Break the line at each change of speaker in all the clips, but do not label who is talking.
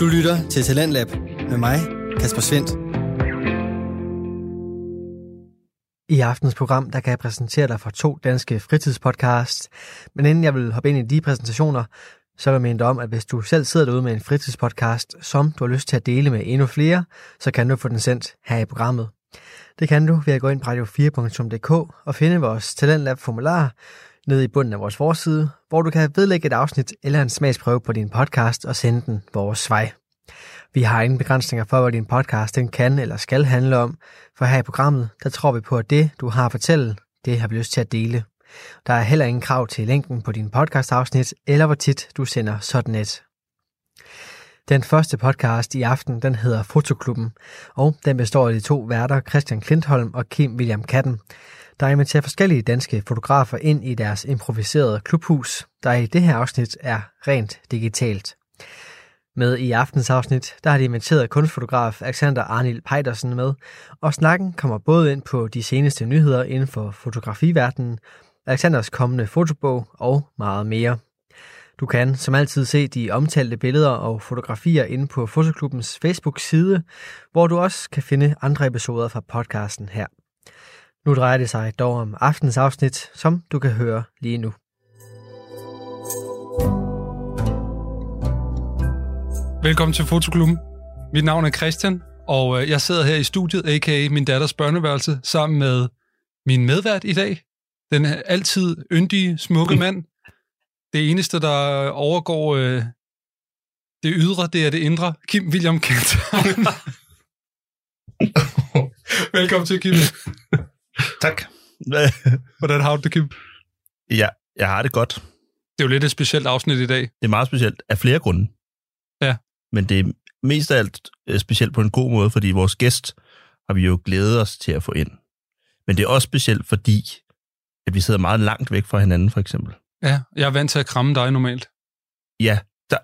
Du lytter til Talentlab med mig, Kasper Svendt. I aftens program, der kan jeg præsentere dig for to danske fritidspodcast. Men inden jeg vil hoppe ind i de præsentationer, så vil jeg minde dig om, at hvis du selv sidder derude med en fritidspodcast, som du har lyst til at dele med endnu flere, så kan du få den sendt her i programmet. Det kan du ved at gå ind på radio4.dk og finde vores Talentlab-formular nede i bunden af vores forside, hvor du kan vedlægge et afsnit eller en smagsprøve på din podcast og sende den vores vej. Vi har ingen begrænsninger for, hvad din podcast den kan eller skal handle om, for her i programmet, der tror vi på, at det, du har at fortælle, det har vi lyst til at dele. Der er heller ingen krav til længden på din podcastafsnit, eller hvor tit du sender sådan et. Den første podcast i aften, den hedder Fotoklubben, og den består af de to værter Christian Klintholm og Kim William Katten, der inviterer forskellige danske fotografer ind i deres improviserede klubhus, der i det her afsnit er rent digitalt. Med i aftens afsnit, der har de inviteret kunstfotograf Alexander Arnil Peidersen med, og snakken kommer både ind på de seneste nyheder inden for fotografiverdenen, Alexanders kommende fotobog og meget mere. Du kan som altid se de omtalte billeder og fotografier inde på Fotoklubbens Facebook-side, hvor du også kan finde andre episoder fra podcasten her. Nu drejer det sig dog om aftens afsnit, som du kan høre lige nu.
Velkommen til Fotoklubben. Mit navn er Christian, og øh, jeg sidder her i studiet, a.k.a. min datters børneværelse, sammen med min medvært i dag. Den er altid yndige, smukke mand. Det eneste, der overgår øh, det ydre, det er det indre. Kim William Kent. Velkommen til, Kim.
Tak.
Hvordan har du det, Kim?
ja, jeg har det godt.
Det er jo lidt et specielt afsnit i dag.
Det er meget specielt af flere grunde.
Ja.
Men det er mest af alt øh, specielt på en god måde, fordi vores gæst har vi jo glædet os til at få ind. Men det er også specielt, fordi at vi sidder meget langt væk fra hinanden, for eksempel.
Ja, jeg er vant til at kramme dig normalt.
Ja, der,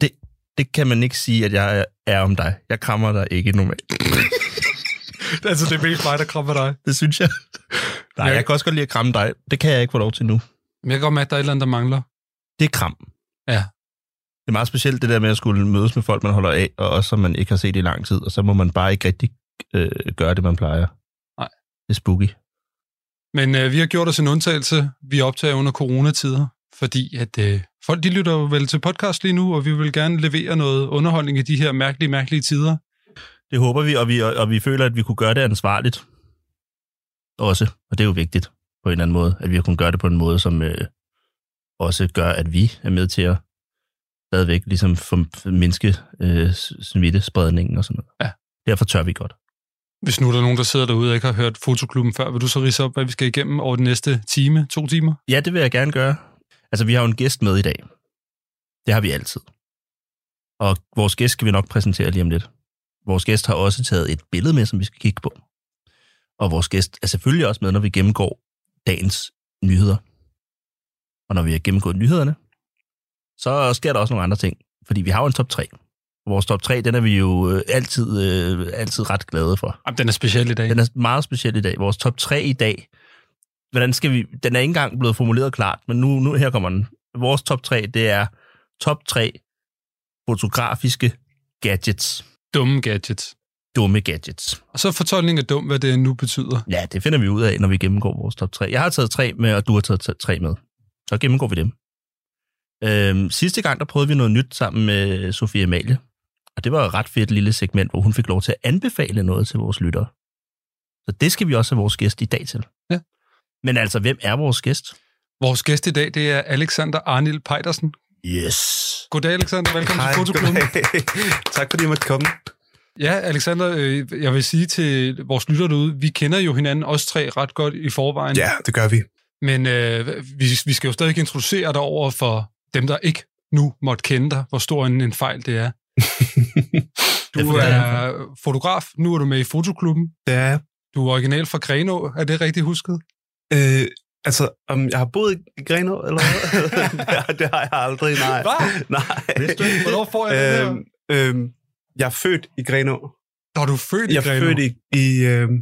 det, det kan man ikke sige, at jeg er om dig. Jeg krammer dig ikke normalt.
altså, det er mest mig, der krammer dig.
Det synes jeg. Nej,
Ja.
jeg kan også godt lide at kramme dig. Det kan jeg ikke få lov til nu.
Men jeg kan godt mærke, at der er et eller andet, der mangler.
Det er kram.
Ja.
Det er meget specielt det der med at skulle mødes med folk, man holder af, og også som man ikke har set i lang tid, og så må man bare ikke rigtig øh, gøre det, man plejer.
Nej.
Det er spooky.
Men øh, vi har gjort os en undtagelse. Vi optager under coronatider, fordi at øh, folk de lytter jo vel til podcast lige nu, og vi vil gerne levere noget underholdning i de her mærkelige, mærkelige tider.
Det håber vi og, vi, og vi føler, at vi kunne gøre det ansvarligt også, og det er jo vigtigt på en eller anden måde, at vi har kunnet gøre det på en måde, som øh, også gør, at vi er med til at stadigvæk ligesom for- mindske øh, smittespredningen og sådan noget.
Ja.
Derfor tør vi godt.
Hvis nu er der nogen, der sidder derude og ikke har hørt Fotoklubben før, vil du så rise op, hvad vi skal igennem over den næste time, to timer?
Ja, det vil jeg gerne gøre. Altså, vi har jo en gæst med i dag. Det har vi altid. Og vores gæst skal vi nok præsentere lige om lidt. Vores gæst har også taget et billede med, som vi skal kigge på. Og vores gæst er selvfølgelig også med, når vi gennemgår dagens nyheder. Og når vi har gennemgået nyhederne, så sker der også nogle andre ting. Fordi vi har jo en top 3. Og vores top 3, den er vi jo øh, altid, øh, altid ret glade for.
Jamen, den er speciel i dag.
Den er meget speciel i dag. Vores top 3 i dag. Hvordan skal vi... Den er ikke engang blevet formuleret klart, men nu, nu her kommer den. Vores top 3, det er top 3 fotografiske gadgets.
Dumme gadgets.
Dumme gadgets.
Og så fortolkning af dum, hvad det nu betyder.
Ja, det finder vi ud af, når vi gennemgår vores top 3. Jeg har taget tre med, og du har taget t- tre med. Så gennemgår vi dem. Øhm, sidste gang, der prøvede vi noget nyt sammen med Sofie Amalie. Og det var et ret fedt lille segment, hvor hun fik lov til at anbefale noget til vores lyttere. Så det skal vi også have vores gæst i dag til.
Ja.
Men altså, hvem er vores gæst?
Vores gæst i dag, det er Alexander Arnil Peidersen.
Yes.
Goddag, Alexander. Velkommen Hej, til Fotoklubben.
tak fordi jeg måtte komme.
Ja, Alexander, øh, jeg vil sige til vores lytter derude, vi kender jo hinanden, os tre, ret godt i forvejen.
Ja, det gør vi.
Men øh, vi, vi skal jo stadig introducere dig over for dem, der ikke nu måtte kende dig, hvor stor en, en fejl det er.
Ja,
Du
for det er
er fotograf, nu er du med i Fotoklubben.
Det er jeg.
Du er original fra Grenå, er det rigtigt husket?
øh, Altså, om jeg har boet i Grenå, eller hvad? ja, det har jeg aldrig, nej.
Hvad?
Nej.
Vidste
Hvornår får jeg det
Øhm,
her?
øhm, jeg er født i Grenå.
Når du er født
Jeg
i
er
Grenå.
født i, i, øhm,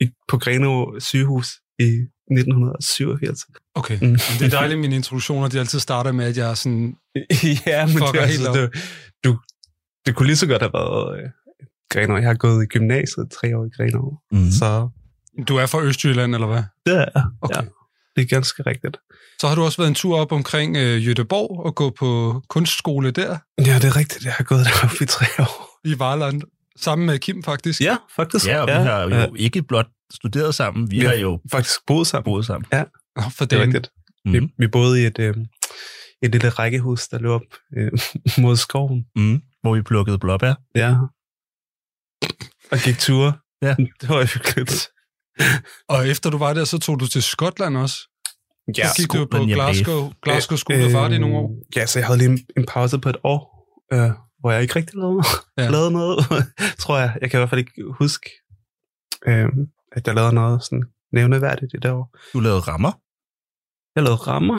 i, på Grenå sygehus i 1987.
Okay,
Mm.
det er dejligt, mine introduktioner de altid starter med, at jeg er sådan...
ja, men det,
Fucker
er
helt
altså,
op.
det, du, Det kunne lige så godt have været øh, Grenaa. Jeg har gået i gymnasiet tre år i Grenaa, mm.
Mm.
så
Du er fra Østjylland, eller hvad?
det er,
Okay.
Ja. det er ganske rigtigt.
Så har du også været en tur op omkring øh, Jødeborg og gå på kunstskole der
Ja, det er rigtigt. Jeg har gået deroppe i tre år.
i Vareland, sammen med Kim faktisk.
Ja, faktisk.
Ja, og vi har
ja.
jo ikke blot studeret sammen, vi
Vi
har
har-
jo
Faktisk boet sammen.
boet sammen.
Nå, for
Det er
det
rigtigt. Mm. Vi, vi boede i et, øh, et lille rækkehus, der lå op øh, mod skoven.
Mm. Hvor vi plukkede blåbær.
Ja. Og gik ture.
Ja.
Det var hyggeligt.
Og efter du var der, så tog du til Skotland også.
Ja,
så gik du på
Skotland, jeg
Glasgow, Glasgow School of Art i nogle år.
Øh, Ja, så jeg havde lige en, en pause på et år, øh, hvor jeg ikke rigtig lavede,
Ja.
ja. lavede noget, tror jeg. Jeg kan i hvert fald ikke huske, øh, at jeg lavede noget sådan nævneværdigt i det år.
Du lavede rammer.
Jeg lavede rammer,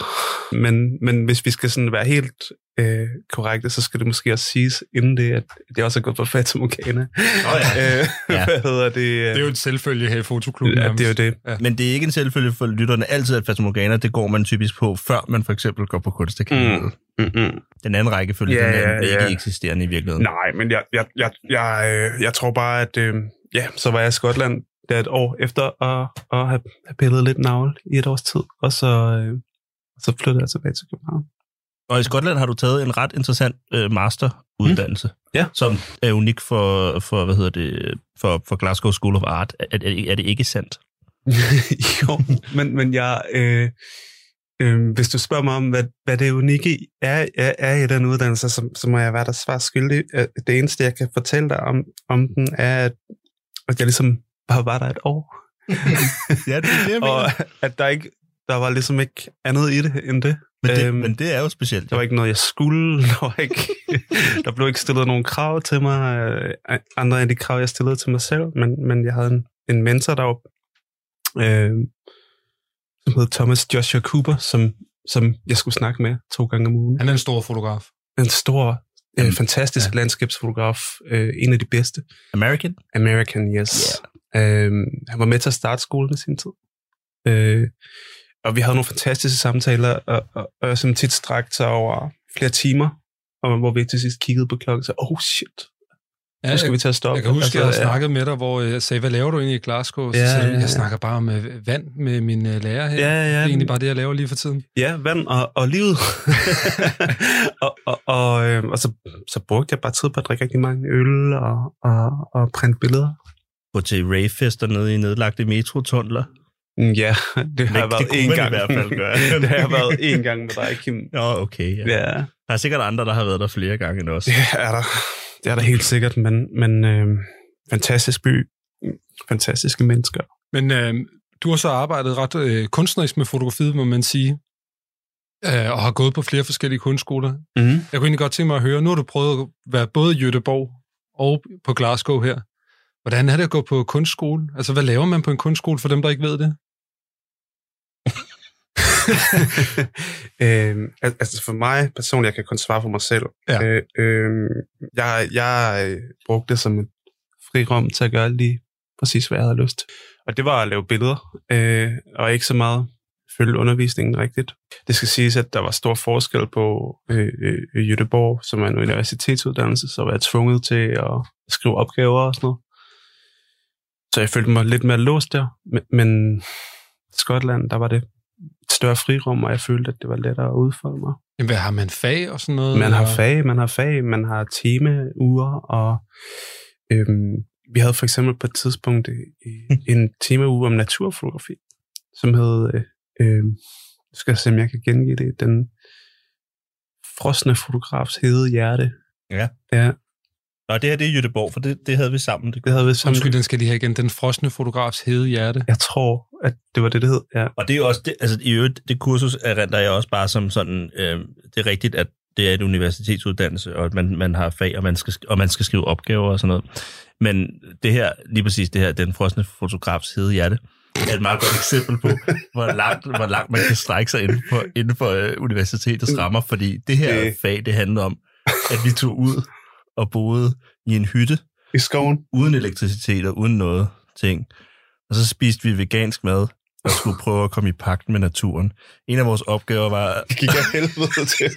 men, men hvis vi skal sådan være helt øh, korrekte, så skal det måske også siges inden det, at jeg også er gået på Fatum Okana.
Oh,
Øh,
Ja.
Hvad hedder det? øh,
Det er jo en selvfølge her i fotoklubben.
ja, det er jo
nærmest.
det.
Men det er ikke en selvfølge for lytterne altid, at Fasmorgana, det går man typisk på, før man for eksempel går på kunstakademiet. Mm.
Mm-hmm.
Den anden rækkefølge,
Ja,
yeah, den er
ja,
ikke
ja.
eksisterende i virkeligheden.
Nej, men jeg, jeg, jeg, jeg, øh, jeg tror bare, at øh, ja, så var jeg i Skotland der et år efter at, at have, have pillet lidt navle i et års tid, og så, øh, så flyttede jeg tilbage til København.
Og i Skotland har du taget en ret interessant øh, masteruddannelse, mm.
Ja.
som er unik for, for, hvad hedder det, for, for Glasgow School of Art. Er, er, er det ikke sandt?
jo, men, men jeg, øh, øh, hvis du spørger mig om, hvad, hvad det unikke er, er, er i den uddannelse, så, så må jeg være der svar skyldig. Øh, Det eneste, jeg kan fortælle dig om, om den, er, at, at jeg ligesom bare var der et år,
ja, det er det, jeg
og at der ikke der var ligesom ikke andet i det end det.
men, det
øhm,
men det er jo specielt.
Der var ikke noget, jeg skulle. Der, var ikke, der blev ikke stillet nogen krav til mig, øh, andre end de krav, jeg stillede til mig selv. Men, men jeg havde en, en mentor, der var, øh, som hed Thomas Joshua Cooper, som, som jeg skulle snakke med to gange om ugen.
Han er en stor fotograf.
En stor, øh,
Jamen,
fantastisk ja. landskabsfotograf. Øh, en af de bedste.
American?
American, yes. Yeah. Øhm, han var med til at starte skolen i sin tid. Øh, og vi havde nogle fantastiske samtaler, og, og, og som tit strakte sig over flere timer, og hvor vi til sidst kiggede på klokken og sagde, oh shit,
Ja,
nu skal vi
jeg,
til at stoppe. Altså,
jeg kan huske, at jeg havde
ja,
snakket med dig, hvor øh, jeg sagde, hvad laver du egentlig i Glasgow? Så
Ja,
sagde du,
ja, ja.
jeg snakker bare om øh, vand med min øh, lærer her.
Ja,
Det
ja,
er egentlig
ja,
bare det, jeg laver lige for tiden.
ja, vand og, og livet. og, og, og, øh, og så, så brugte jeg bare tid på at drikke rigtig mange øl og, og, og printe billeder.
Gå til ravefester nede i nedlagte metrotunnler.
Ja, det har
Men
jeg
det
været
kunne
én
man i
gang.
hvert fald gøre.
det har jeg været én gang med dig, Kim.
Nå, okay. Ja. Ja.
Ja.
Der er sikkert andre, der har været der flere gange end os.
Det er der. Det er der helt sikkert, men, men øh, fantastisk by, fantastiske mennesker.
Men øh, du har så arbejdet ret øh, kunstnerisk med fotografiet, må man sige, øh, og har gået på flere forskellige kunstskoler.
Mm.
Jeg kunne egentlig godt tænke mig at høre, nu har du prøvet at være både i Jødeborg og på Glasgow her. Hvordan er det at gå på kunstskole? Altså, hvad laver man på en kunstskole, for dem, der ikke ved det?
øh, al- altså for mig personligt, jeg kan kun svare for mig selv.
Ja.
Øh, øh, jeg, jeg øh, brugte det som et frirum til at gøre lige præcis, hvad jeg havde lyst. Og det var at lave billeder, øh, og ikke så meget følge undervisningen rigtigt. Det skal siges, at der var stor forskel på øh, øh, Jødeborg, som er en universitetsuddannelse, så var jeg tvunget til at skrive opgaver og sådan noget. Så jeg følte mig lidt mere låst der, men, men Skotland, der var det et større frirum, og jeg følte, at det var lettere at udfolde mig.
Jamen, hvad har man fag og sådan noget?
Man har
Og-
fag, man har fag, man har temauger, og øhm, vi havde for eksempel på et tidspunkt øh, en temauge om naturfotografi, som hed, øh, øh, nu skal jeg se, om jeg kan gengive det, den frosne fotografs hede hjerte.
Ja.
ja
Nå, det her det er Jødeborg, for det, det havde vi sammen. Det
det havde vi sammen.
Undskyld, den skal lige have igen. Den frosne fotografs hede hjerte.
Jeg tror, at det var det, det hed. Ja.
Og det er jo også, det, altså i øvrigt, det kursus erindrer jeg også bare som sådan, øh, det er rigtigt, at det er et universitetsuddannelse, og at man, man har fag, og man, skal, sk- og man skal skrive opgaver og sådan noget. Men det her, lige præcis det her, den frosne fotografs hede hjerte, er et meget godt eksempel på, hvor langt, hvor langt man kan strække sig inden for, inden for øh, universitetets rammer, fordi det her
Det-
fag, det handler om, at vi tog ud og boede i en hytte,
I skoven.
uden elektricitet og uden noget ting. Og så spiste vi vegansk mad, og skulle prøve at komme i pagt med naturen. En af vores opgaver var,
Det gik af helvede til.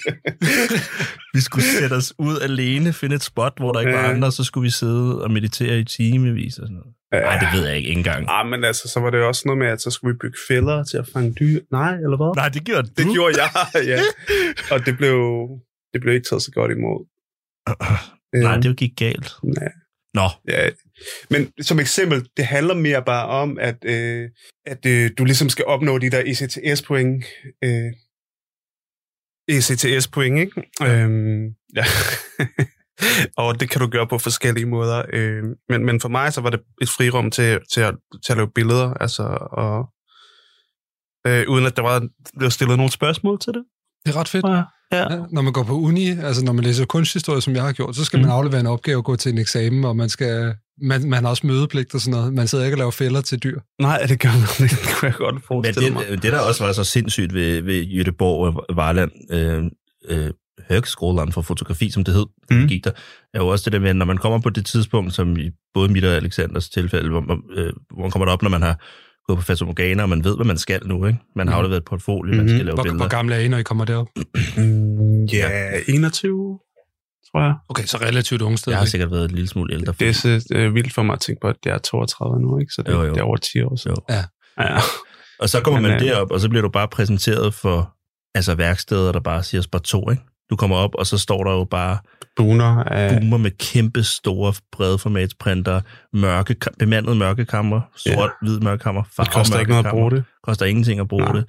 vi skulle sætte os ud alene, finde et spot, hvor der ikke var
Ja.
andre, og så skulle vi sidde og meditere i timevis og sådan noget. Nej, det ved jeg ikke engang.
Ah, men altså, så var det jo også noget med, at så skulle vi bygge fælder til at fange dyr. Nej, eller hvad? Mm.
Nej, det gjorde
Det
du.
gjorde jeg, ja. Og det blev, det blev ikke taget så godt imod. Øh,
Nej, det gik galt.
nej.
Nå,
Ja. Men som eksempel, det handler mere bare om, at, øh, at øh, du ligesom skal opnå de der ECTS-point. Øh, E ECTS-point, ikke? Øhm, ja. og det kan du gøre på forskellige måder. Øh, men, men for mig, så var det et frirum til, til, at, til at lave billeder, altså, og, øh, uden at der var blevet stillet nogle spørgsmål til det.
Det er ret fedt.
tror jeg. Ja.
Ja, når man går på uni, altså når man læser kunsthistorie, som jeg har gjort, så skal mm. man aflevere en opgave og gå til en eksamen, og man, skal, man, man har også mødepligt og sådan noget. Man sidder ikke og laver fælder til dyr.
Nej, det gør man ikke. Det kunne jeg godt
Men
forestille mig.
det, det, der også var så sindssygt ved, ved Jødeborg og Varland, øh, øh, Høgskolen for fotografi, som det hed, mm.
Mm.
gik der, er jo også det der med, at når man kommer på det tidspunkt, som i både mit og Alexanders tilfælde, hvor, man- øh, hvor man kommer derop, når man har gået på Fata Morgana, og man ved, hvad man skal nu, ikke? Man har
Mhm.
afleveret et portfolio, man
Mhm.
skal lave
Hvor, hvor
billeder.
gamle er I, når I kommer derop?
Mm, Ja, 21, tror jeg.
Okay, så relativt unge
Jeg har
stadigvæk.
sikkert været en lille smule ældre.
Det er så øh, vildt for mig at tænke på, at jeg er 32 nu, ikke? så det,
Jo,
jo,
jo.
jo. det er over 10 år siden.
Jo.
Ja.
ja.
Og så kommer
Men,
man
øh,
derop, og så bliver du bare præsenteret for altså værksteder, der bare siger spar to, ikke? Du kommer op, og så står der jo bare
Buner af...
boomer med kæmpe store bredformatsprinter, mørke, bemandede mørkekammer, sort, ja. hvid mørkekammer, farve
Det koster ikke noget at bruge det.
koster ingenting at bruge
Nej.
det.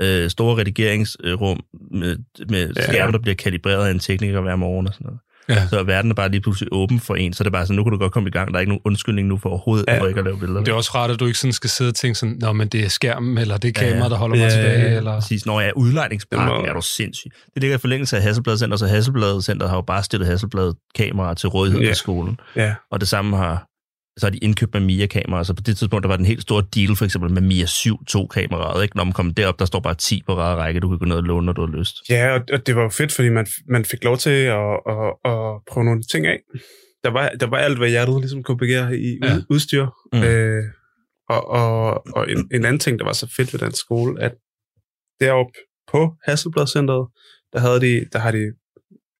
Øh, store redigeringsrum med, med ja.
Ja.
skærme, der bliver kalibreret af en tekniker hver morgen og sådan noget.
Ja.
Så verden er bare lige pludselig åben for en, så det er bare sådan, nu kan du godt komme i gang, der er ikke nogen undskyldning nu for overhovedet, ja.
Ja.
for ikke at lave billeder.
Det er også rart, at du ikke sådan skal sidde og tænke sådan, Nå, men det er skærmen, eller det er
Ja, ja.
kameraet, der holder mig
Ja, ja, ja.
tilbage, eller...
Præcis, når jeg er udlejningsparken,
Det må-
er du sindssyg. Det ligger i forlængelse af Hasselblad Center, så Hasselblad Center har jo bare stillet Hasselblad kameraer til rådighed yeah.
Ja.
i skolen.
Ja.
Og det samme har så har de indkøbt med Mia kameraer, så på det tidspunkt, der var den helt store deal, for eksempel med Mia 7-2 kameraet, ikke? Når man kom derop, der står bare 10 på rad og række, du kan gå ned og låne, når du har lyst.
Ja, og, og det var jo fedt, fordi man, man fik lov til at, at, at prøve nogle ting af. Der var, der var alt, hvad hjertet ligesom kunne begære i
Ja.
ja. udstyr.
Mm.
Mm. Øh, og og, og en, en anden ting, der var så fedt ved den skole, at deroppe på Hasselblad-centret, der, havde de, der har de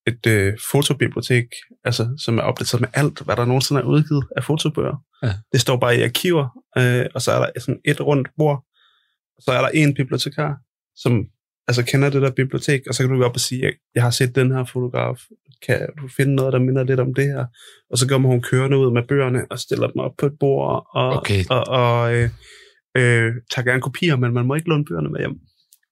et øh, fotobibliotek, altså, som er opdateret med alt, hvad der nogensinde er udgivet af fotobøger.
Ja.
Det står bare i arkiver, øh, og så er der sådan et rundt bord, og så er der en bibliotekar, som altså kender det der bibliotek, og så kan du gå op og sige, jeg, jeg har set den her fotograf, kan du finde noget, der minder lidt om det her? Og så kommer hun kørende ud med bøgerne og stiller dem op på et bord, og,
Okay.
og, og øh, øh, tager gerne kopier, men man må ikke låne bøgerne med hjem.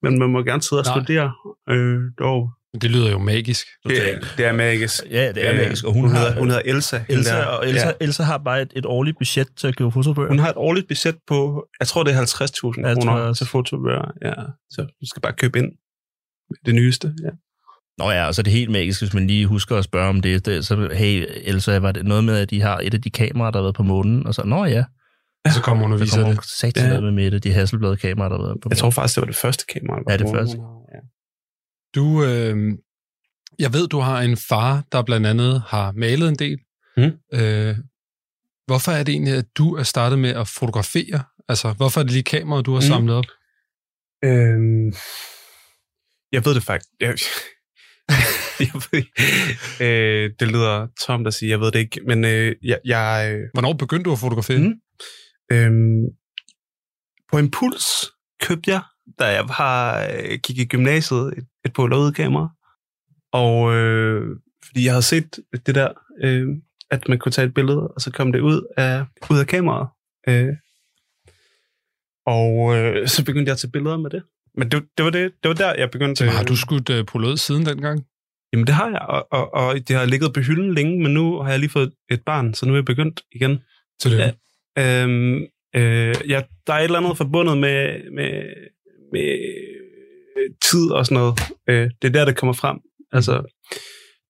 Men man må gerne sidde og
Nej.
studere. Øh, dog.
Det lyder jo magisk.
Det, det er magisk.
Ja, det er
Øh,
magisk, og hun,
hun,
har,
hedder, hun hedder Elsa. hende
Elsa,
der.
og Elsa, ja. Elsa har bare et, et årligt budget til at købe fotobøger.
Hun har et årligt budget på, jeg tror det er 50.000
Ja, det tror jeg
kroner
også.
til fotobøger. Ja, så du skal bare købe ind det nyeste. Ja.
Nå ja, og så er det helt magisk, hvis man lige husker at spørge om det. det så, hey, Elsa, var det noget med, at de har et af de kameraer, der har været på månen? Og så, nå ja,
Så kommer hun og
så
viser
kommer
det.
hun sat ned med Mette, de hasselblad kameraer, der har været på
Jeg
månen.
tror faktisk, det var det første kamera. der var
Ja, det
på.
første.
Ja.
Du, øh, jeg ved, du har en far, der blandt andet har malet en del.
Mm.
Øh, hvorfor er det egentlig, at du er startet med at fotografere? Altså, hvorfor er det lige kamera, du har
Mm.
samlet op?
Øhm, jeg ved det faktisk. Jeg, jeg ved, øh, det lyder tomt at sige, jeg ved det ikke, men øh, jeg, jeg øh,
Hvornår begyndte du at fotografere? Mm.
Mm. Øhm, på impuls købte jeg, da jeg var, øh, gik i gymnasiet, et, et polaroidkamera. Og øh, fordi jeg havde set det der, øh, at man kunne tage et billede, og så kom det ud af, ud af kameraet. Øh. Og øh, så begyndte jeg at tage billeder med det. Men det, det, var, det, det var der, jeg begyndte...
Har du skudt øh, på lød siden dengang?
Jamen det har jeg, og, og, og det har ligget på hylden længe, men nu har jeg lige fået et barn, så nu er jeg begyndt igen.
Tillykke.
Ja. Øhm, øh, ja, der er et eller andet forbundet med, med, med tid og sådan noget. Øh, det er der, det kommer frem. Altså,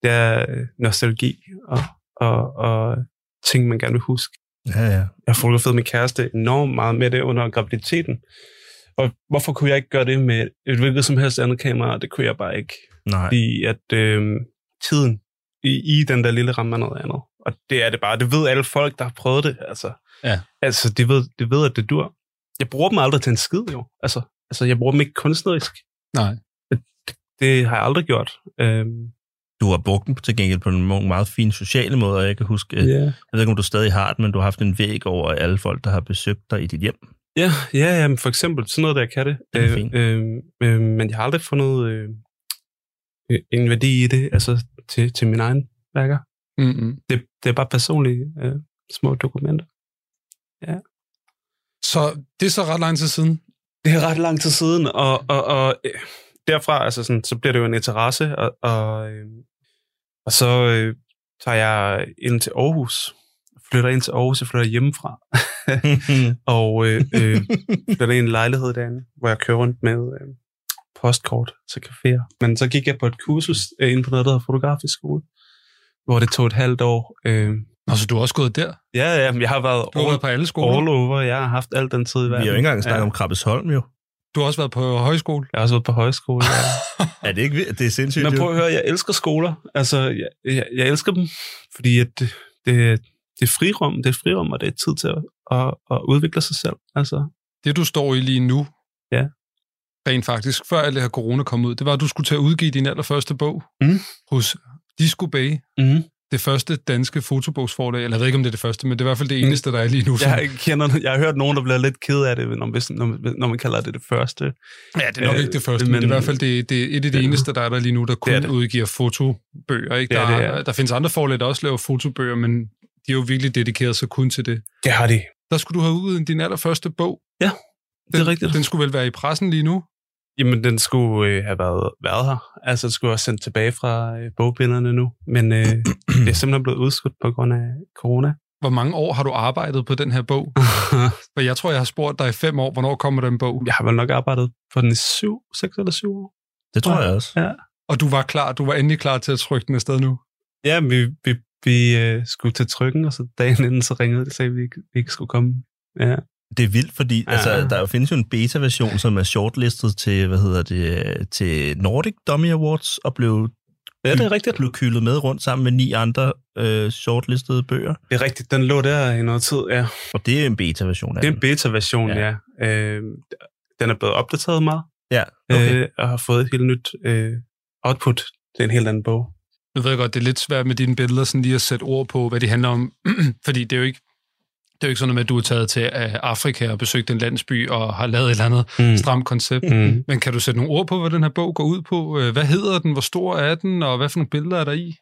det er øh, nostalgi og, og, og ting, man gerne vil huske.
Ja, ja.
Jeg har fotograferet min kæreste enormt meget med det under graviditeten. Og hvorfor kunne jeg ikke gøre det med et hvilket som helst andet kamera? Det kunne jeg bare ikke.
Nej.
Fordi at øh, tiden i, i den der lille ramme er noget andet. Og det er det bare. Det ved alle folk, der har prøvet det. Altså,
Ja.
altså de, ved, de ved, at det dur. jeg bruger dem aldrig til en skid, jo. Altså, altså jeg bruger dem ikke kunstnerisk.
Nej.
Det har jeg aldrig gjort. Øhm,
Du har brugt den til gengæld på nogle meget fine sociale måder, og jeg kan huske, yeah.
yeah.
jeg ved ikke, om du stadig har den, men du har haft en væg over alle folk, der har besøgt dig i dit hjem.
Ja, ja, ja men for eksempel sådan noget der kan det.
Det er fint.
øh, øh, men jeg har aldrig fundet øh, øh, en værdi i det, altså til, til mine egne værker.
Mm-hmm.
Det, det er bare personlige øh, små dokumenter.
Så det er så ret lang tid siden.
Det er ret lang tid siden, og, og, og øh, derfra altså sådan, så bliver det jo en interesse, og, og, øh, og så øh, tager jeg ind til Aarhus, flytter ind til Aarhus, jeg flytter hjemmefra,
Øh,
og øh, øh, flytter ind i en lejlighed derinde, hvor jeg kører rundt med øh, postkort til caféer. Men så gik jeg på et kursus øh, inde på noget, der hedder fotografisk skole, hvor det tog et halvt år. Øh,
Nå, så du er også gået der?
ja, ja, men jeg har været
Du har været
all,
på alle skoler?
all over, jeg har haft al den tid i
Vi
verden.
har jo ikke engang snakket
Ja.
om Krabbesholm, jo.
Du har også været på højskole?
Jeg har også været på højskole. Ja.
Er det ikke vildt? Det er sindssygt.
Men
jo.
prøv at høre, jeg elsker skoler. Altså, jeg, jeg, jeg elsker dem, fordi at det, det, det er frirum, det er frirum, og det er tid til at, at, at udvikle sig selv. Altså,
Det, du står i lige nu,
Ja.
rent faktisk, før alt det her corona kom ud, det var, at du skulle til at udgive din allerførste bog
Mm.
hos Disco Bay,
mm.
det første danske fotobogsforlag. Eller jeg ved ikke, om det er det første, men det er i hvert fald det eneste, der er lige nu.
jeg, kender, jeg har hørt nogen, der bliver lidt ked af det, når, hvis, når, når man kalder det det første.
Ja, det er nok
Øh,
ikke det første, men, men det er i hvert fald det, det er et af de
Ja.
eneste, der er der lige nu, der kun
Det er
det
det.
udgiver fotobøger. Ikke?
Det
Der,
er det,
det
ja.
der findes andre forlag, der også laver fotobøger, men de er jo virkelig dedikeret sig kun til det.
Det har de.
Der skulle du have udgivet din allerførste bog.
Den, det er rigtigt. Den,
Den skulle vel være i pressen lige nu?
jamen, den skulle øh, have været, været her. Altså, den skulle være sendt tilbage fra øh, bogbinderne nu. Men øh, det er simpelthen blevet udskudt på grund af corona.
Hvor mange år har du arbejdet på den her bog? For jeg tror, jeg har spurgt dig i fem år, hvornår kommer den bog?
jeg har vel nok arbejdet på den i syv, seks eller syv år.
Det tror jeg også.
Og du var klar, du var endelig klar til at trykke den afsted nu.
Ja, men vi, vi, vi øh, skulle til trykken, og så dagen inden, så ringede de og sagde, at vi ikke, vi ikke skulle komme. Ja.
Det er vildt, fordi ja.
Ja.
altså, der findes jo en beta-version, som er shortlistet til, hvad hedder det, til Nordic Dummy Awards, og blev,
ja, det er rigtigt.
blev kylet med rundt sammen med ni andre øh, shortlistede bøger.
Det er rigtigt, den lå der i noget tid, ja.
Og det er en beta-version af
Det er
den.
en beta-version, ja. ja. Øh, den er blevet opdateret meget,
Ja, okay.
okay. øh, og har fået et helt nyt øh, output. Det er en helt anden bog.
Nu ved jeg godt, det er lidt svært med dine billeder sådan lige at sætte ord på, hvad de handler om. Fordi det er jo ikke, det er jo ikke sådan noget med, at du er taget til øh, Afrika og besøgt en landsby og har lavet et eller andet
Mm.
stramt koncept.
Mm.
Men kan du sætte nogle ord på, hvad den her bog går ud på? Øh, Hvad hedder den? Hvor stor er den? Og hvad for nogle billeder er der i?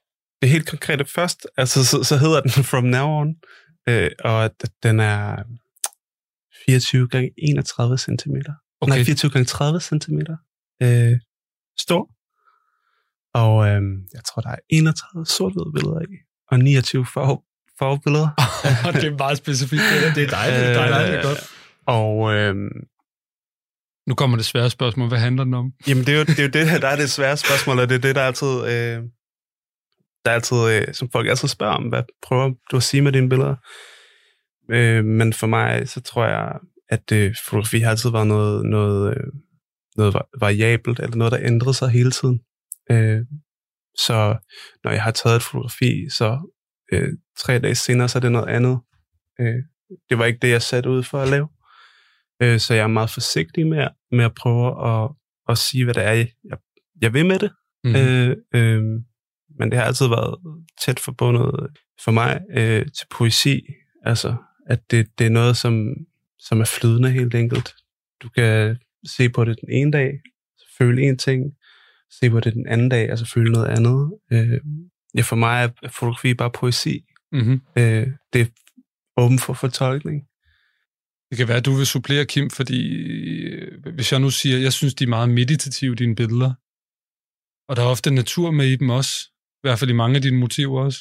Det helt konkrete først, altså så, så hedder den From Now On, øh, og at den er 24 gange 31 cm. Okay. Nej,
Okay,
24 gange 30 cm øh, stor. Og øh, jeg tror, der er 31 sort billeder i, og 29 farve, farvebilleder.
det er meget specifikt.
det er dejligt.
Øh,
Det er dejligt godt.
Og øh,
Nu kommer det svære spørgsmål. Hvad handler den om?
jamen, det er, jo, det er jo det, der er det svære spørgsmål, og det er det, der altid, øh, der er altid øh, som folk altid spørger om, hvad prøver du at sige med dine billeder? Øh, men for mig, så tror jeg, at øh, fotografi har altid været noget, noget, øh, noget va- variabelt, eller noget, der ændrede sig hele tiden. Øh, så når jeg har taget et fotografi, så øh, tre dage senere, så er det noget andet. Øh, det var ikke det, jeg satte ud for at lave. Øh, så jeg er meget forsigtig med, med at prøve at, at sige, hvad det er, jeg, jeg vil med det.
Mm. Øh,
Øh, øh, men det har altid været tæt forbundet for mig øh, til poesi. Altså, at det, det er noget, som, som er flydende helt enkelt. Du kan se på det den ene dag, føle en ting, se på det den anden dag, altså føle noget andet. Øh, ja, for mig er fotografi bare poesi.
mm-hmm.
Øh, det er åben for fortolkning.
Det kan være, at du vil supplere, Kim, fordi øh, hvis jeg nu siger, jeg synes, de er meget meditative, dine billeder, og der er ofte natur med i dem også, i hvert fald i mange af dine motiver også.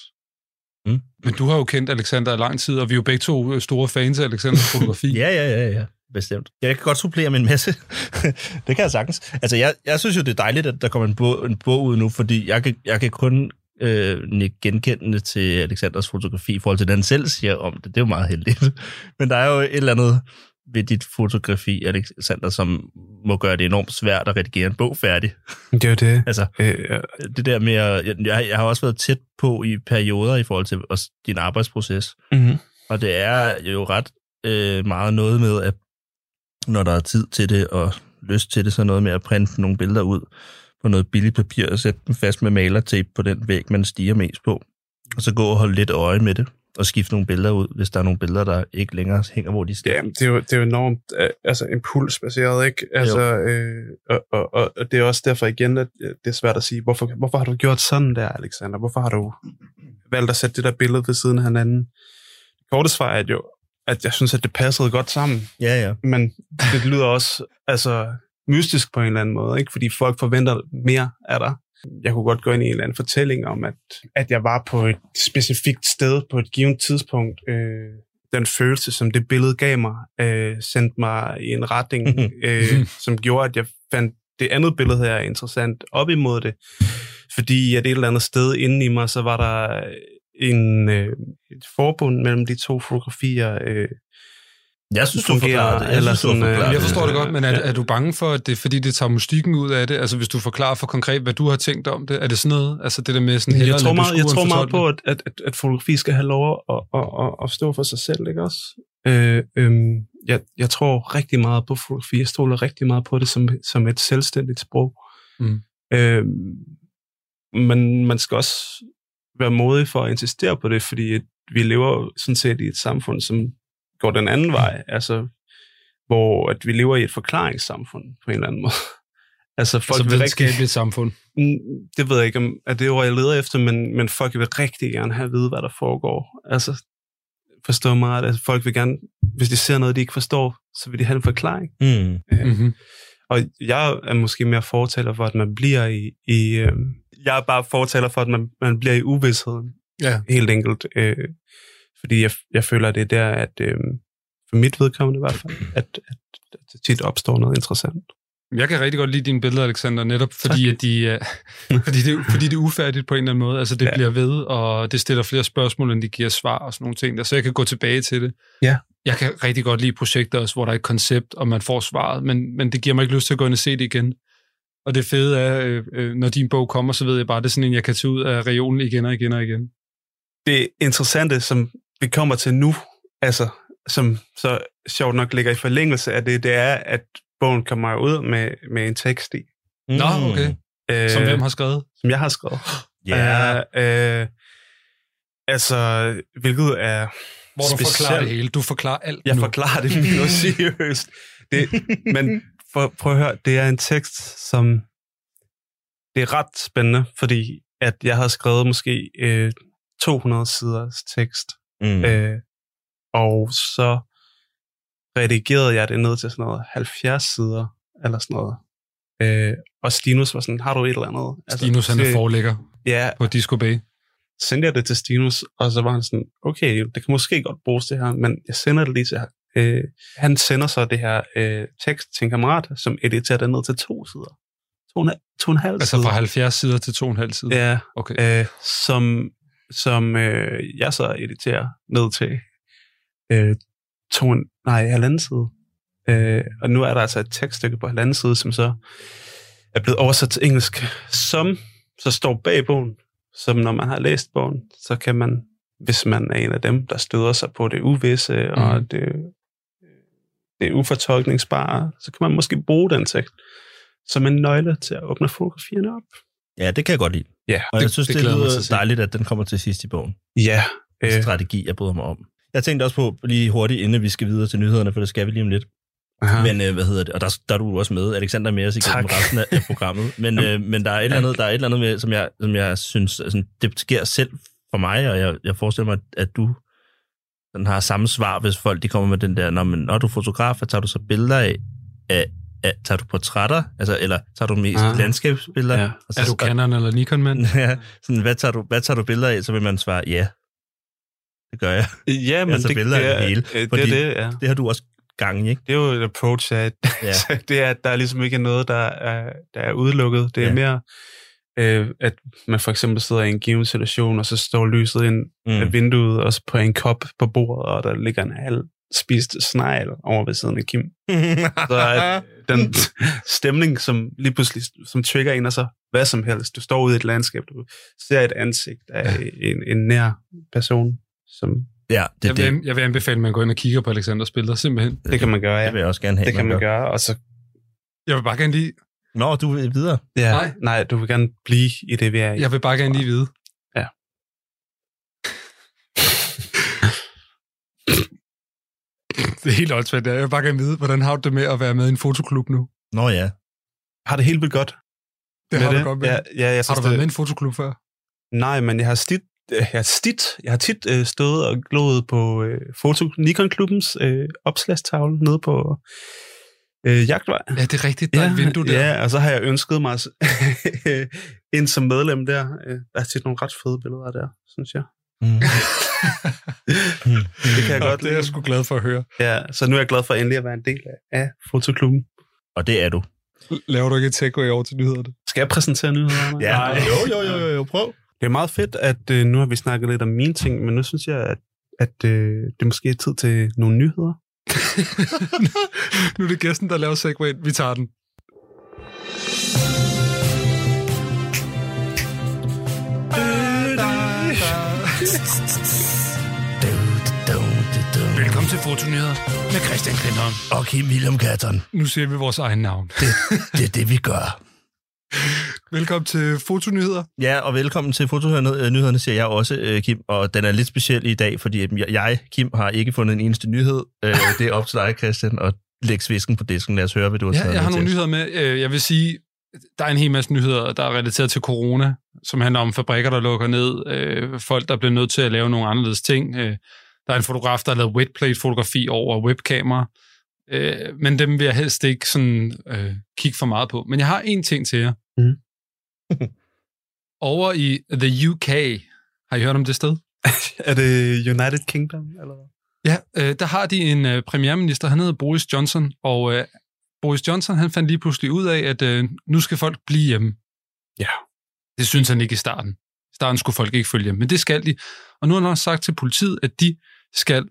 Mm.
Men du har jo kendt Alexander i lang tid, og vi er jo begge to øh, store fans af Alexanders fotografi.
Ja, ja, ja, ja. Bestemt. Jeg kan godt supplere med en masse. det kan jeg sagtens. Altså, jeg, jeg synes jo, det er dejligt, at der kommer en bog, en bog ud nu, fordi jeg kan, jeg kan kun øh, nikke genkendende til Alexanders fotografi i forhold til, hvad han selv siger om det. Det er jo meget heldigt. Men der er jo et eller andet ved dit fotografi, Alexander, som må gøre det enormt svært at redigere en bog færdig.
Det er jo det.
Altså,
Øh,
det der med at... Jeg, jeg, jeg har også været tæt på i perioder i forhold til også din arbejdsproces.
mm-hmm.
Og det er jo ret øh, meget noget med, at når der er tid til det og lyst til det, så noget med at printe nogle billeder ud på noget billigt papir og sætte dem fast med malertape på den væg, man stiger mest på. Og så gå og holde lidt øje med det og skifte nogle billeder ud, hvis der er nogle billeder, der ikke længere hænger, hvor de stiger.
Ja, det er jo, det er jo enormt øh, altså, impulsbaseret, ikke? Altså, øh, og, og, og, og det er også derfor igen, at øh, det er svært at sige, hvorfor, hvorfor har du gjort sådan der, Alexander? Hvorfor har du valgt at sætte det der billede ved siden af hinanden? Korte svar er jo, at jeg synes, at det passede godt sammen,
Ja, ja.
men det lyder også altså, mystisk på en eller anden måde, ikke? fordi folk forventer mere af dig. Jeg kunne godt gå ind i en eller anden fortælling om, at, at jeg var på et specifikt sted på et givet tidspunkt. Øh, den følelse, som det billede gav mig, øh, sendte mig i en retning, øh, som gjorde, at jeg fandt det andet billede her interessant op imod det. Fordi at et eller andet sted inde i mig, så var der en, øh, et forbund mellem de to fotografier, øh,
Jeg synes, du
Fungerer,
forklarer det. Jeg
eller
synes, du
sådan, øh,
forklarer
Jamen,
det.
jeg forstår det
Ja.
godt, men er, er du bange for, at det er, fordi det tager mystikken ud af det? Altså, hvis du forklarer for konkret, hvad du har tænkt om det, er det sådan noget? Altså, det der med sådan...
Jeg
hellere
tror,
lade
meget, jeg
beskueren
tror meget
fortolke
på, at, at, at, at fotografi skal have lov at, at, at, at stå for sig selv, ikke også? Øh, øhm, jeg, jeg tror rigtig meget på fotografi. Jeg stoler rigtig meget på det som, som et selvstændigt sprog.
Mm.
Øh, men man skal også være modig for at insistere på det, fordi at vi lever jo sådan set i et samfund, som går den
Mm.
anden vej. Altså, hvor at vi lever i et forklaringssamfund på en eller anden måde. Altså, folk
Altså,
vil rigtig
videnskabeligt samfund.
Mm, Det ved jeg ikke, om er det ord, jeg leder efter, men, men folk vil rigtig gerne have at vide, hvad der foregår. Altså, forstå mig ret, altså, folk vil gerne, hvis de ser noget, de ikke forstår, så vil de have en forklaring.
Mm.
Mm-hmm.
Og jeg er måske mere fortaler for, at man bliver i... i øh, jeg er bare fortaler for, at man, man bliver i uvidsheden.
Ja.
Helt enkelt. Øh, fordi jeg, jeg føler, at det er der, at øh, for mit vedkommende i hvert fald, at, at, at der tit opstår noget interessant.
Jeg kan rigtig godt lide dine billeder, Alexander, netop fordi, at de, uh, fordi, det, fordi det er ufærdigt på en eller anden måde. Altså, det ja.
Ja.
bliver ved, og det stiller flere spørgsmål, end det giver svar og sådan nogle ting. Der. Så jeg kan gå tilbage til det.
Ja.
Jeg kan rigtig godt lide projekter også, hvor der er et koncept, og man får svaret, men, men det giver mig ikke lyst til at gå ind og se det igen. Og det fede er, øh, øh, når din bog kommer, så ved jeg bare, at det er sådan en, jeg kan tage ud af reolen igen og igen og igen.
det interessante, som vi kommer til nu, altså som så sjovt nok ligger i forlængelse af det, det er, at bogen kommer ud med, med en tekst i,
Mm.
Nå, okay.
øh,
Som hvem har skrevet?
som jeg har skrevet.
Ja,
Øh, øh, altså, hvilket er...
Hvor du forklarer
specielt.
det hele. Du forklarer alt
Jeg
nu.
forklarer det minutiøst. Det, men for, prøv at høre, det er en tekst, som... Det er ret spændende, fordi at jeg har skrevet måske øh, 200 siders tekst
mm.
Øh, og så redigerede jeg det ned til sådan noget 70 sider, eller sådan noget. Øh, og Stinus var sådan, har du et eller andet? Altså,
Stinus, han er
det-
forlægger
Ja,
på Disco Bay. Altså,
sendte jeg det til Stinus, og så var han sådan, okay, det kan måske godt bruges det her, men jeg sender det lige til ham. Øh, han sender så det her øh, tekst til en kammerat, som editerer det ned til to sider. To og en, to og en halv
Altså
side.
fra 70 sider til 2,5 sider.
Ja,
Okay.
øh, som, som øh, jeg så editerer ned til øh, to, nej, halvanden side. Øh, og nu er der altså et tekststykke på halvanden side, som så er blevet oversat til engelsk, som så står bag bogen, som når man har læst bogen, så kan man, hvis man er en af dem, der støder sig på det uvisse mm. og det, øh, det ufortolkningsbare, så kan man måske bruge den tekst som en nøgle til at åbne fotografierne op.
ja, det kan jeg godt lide.
Ja,
Og jeg
det-
synes,
det
det, det
glæder mig
lyder
til at se.
dejligt, at den kommer til sidst i bogen.
Ja.
øh. strategi, jeg bryder mig om. Jeg tænkte også på, lige hurtigt, inden vi skal videre til nyhederne, for det skal vi lige om lidt.
aha.
Men øh, hvad hedder det? Og der, der er du også med. Alexander er med os igennem
Tak.
resten af, af programmet. Men, øh, men der, er et eller andet, der er et eller andet, med, som, jeg, som jeg synes, altså, det sker selv for mig, og jeg, jeg forestiller mig, at du sådan har samme svar, hvis folk de kommer med den der, når, men, når du er fotograf, hvad tager du så billeder af, af, af tager du portrætter, altså, eller tager du mest
Ah.
ah. landskabsbilleder?
Ja.
Og så,
Er du Canon eller Nikon-mand?
ja, sådan, hvad, tager du, hvad tager du billeder af? Så vil man svare, ja, det gør jeg.
Ja, men
Altså,
det,
billeder
det,
af
er,
det hele,
øh, det,
fordi-
er det, ja.
Det har du også gang i, ikke?
det er jo et approach af, at
Ja.
ja. det er, at der ligesom ikke er noget, der er, der er udelukket. Det
Ja.
er ja. mere, øh, at man for eksempel sidder i en given situation, og så står lyset ind mm. af vinduet og på en kop på bordet, og der ligger en halv spist snegl over ved siden af Kim. Så er den stemning, som lige pludselig som trigger en, og så hvad som helst. Du står ude i et landskab, du ser et ansigt af en, en nær person, som
Ja, det,
jeg,
det,
vil, jeg vil anbefale, at man går ind og kigger på Alexanders billeder, simpelthen.
Det kan man gøre, ja.
det vil jeg også gerne have.
Det kan man gøre, og så...
Jeg vil bare gerne lige,
Nå, du vil videre.
Ja,
Nej.
nej. nej, du vil gerne blive i det, vi er i.
jeg vil bare gerne lige vide.
Ja.
det er helt åndssvagt, det er. Jeg vil bare gerne vide, hvordan har du det med at være med i en fotoklub nu?
Nå ja.
Har det helt vildt godt.
Det
med
har du godt med.
Ja, ja, jeg
Har
synes,
du været
det,
med i en fotoklub før?
Nej, men jeg har stit, øh, jeg har stit, jeg har tit øh, stået og glået på øh, foto Nikon-klubbens øh, opslagstavle nede på øh, Jagtvej.
Ja, det er rigtigt. Der er et vindue der.
ja, og så har jeg ønsket mig s- ind som medlem der. Øh, Der er tit nogle ret fede billeder der, synes jeg.
Mm.
Det kan jeg
Nå,
godt
det er jeg
lide.
sgu glad for at høre.
Ja, så nu er jeg glad for endelig at være en del af, af fotoklubben.
Og det er du.
Laver du ikke et takeaway over til nyhederne?
Skal jeg præsentere nyhederne?
Nej.
Jo, jo, jo, jo, jo, prøv.
Det er meget fedt, at øh, nu har vi snakket lidt om mine ting, men nu synes jeg, at, at øh, det måske er tid til nogle nyheder.
nu er det gæsten, der laver segwayen. Vi tager den. Velkommen til Fotonyheder med Christian Klintholm.
Og Kim William Katteren.
Nu siger vi vores egen navn.
Det er det, vi gør.
Velkommen til Fotonyheder.
Ja, og velkommen til Fotonyhederne, siger jeg også, øh, Kim. Og den er lidt speciel i dag, fordi at jeg- jeg, Kim, har ikke fundet en eneste nyhed. Øh, Det er op til dig, Christian, og læg svisken på disken. Lad os høre, hvad du har
Ja,
taget
jeg har
med
nogle
til os.
nyheder med. Øh, Jeg vil sige, der er en hel masse nyheder, der er relateret til corona, som handler om fabrikker, der lukker ned, øh, folk, der bliver nødt til at lave nogle anderledes ting. Øh, Der er en fotograf, der har lavet wetplate-fotografi over webkamera, Øh, men dem vil jeg helst ikke sådan, øh, kigge for meget på. Men jeg har en ting til jer.
Mhm.
Over i the UK, har I hørt om det sted?
Er det United Kingdom, eller hvad?
Ja, øh, der har de en øh, premierminister, han hedder Boris Johnson, og øh, Boris Johnson han fandt lige pludselig ud af, at øh, nu skal folk blive hjemme.
Ja.
Det synes han ikke i starten. I starten skulle folk ikke følge hjem, men det skal de. Og nu har han også sagt til politiet, at de skal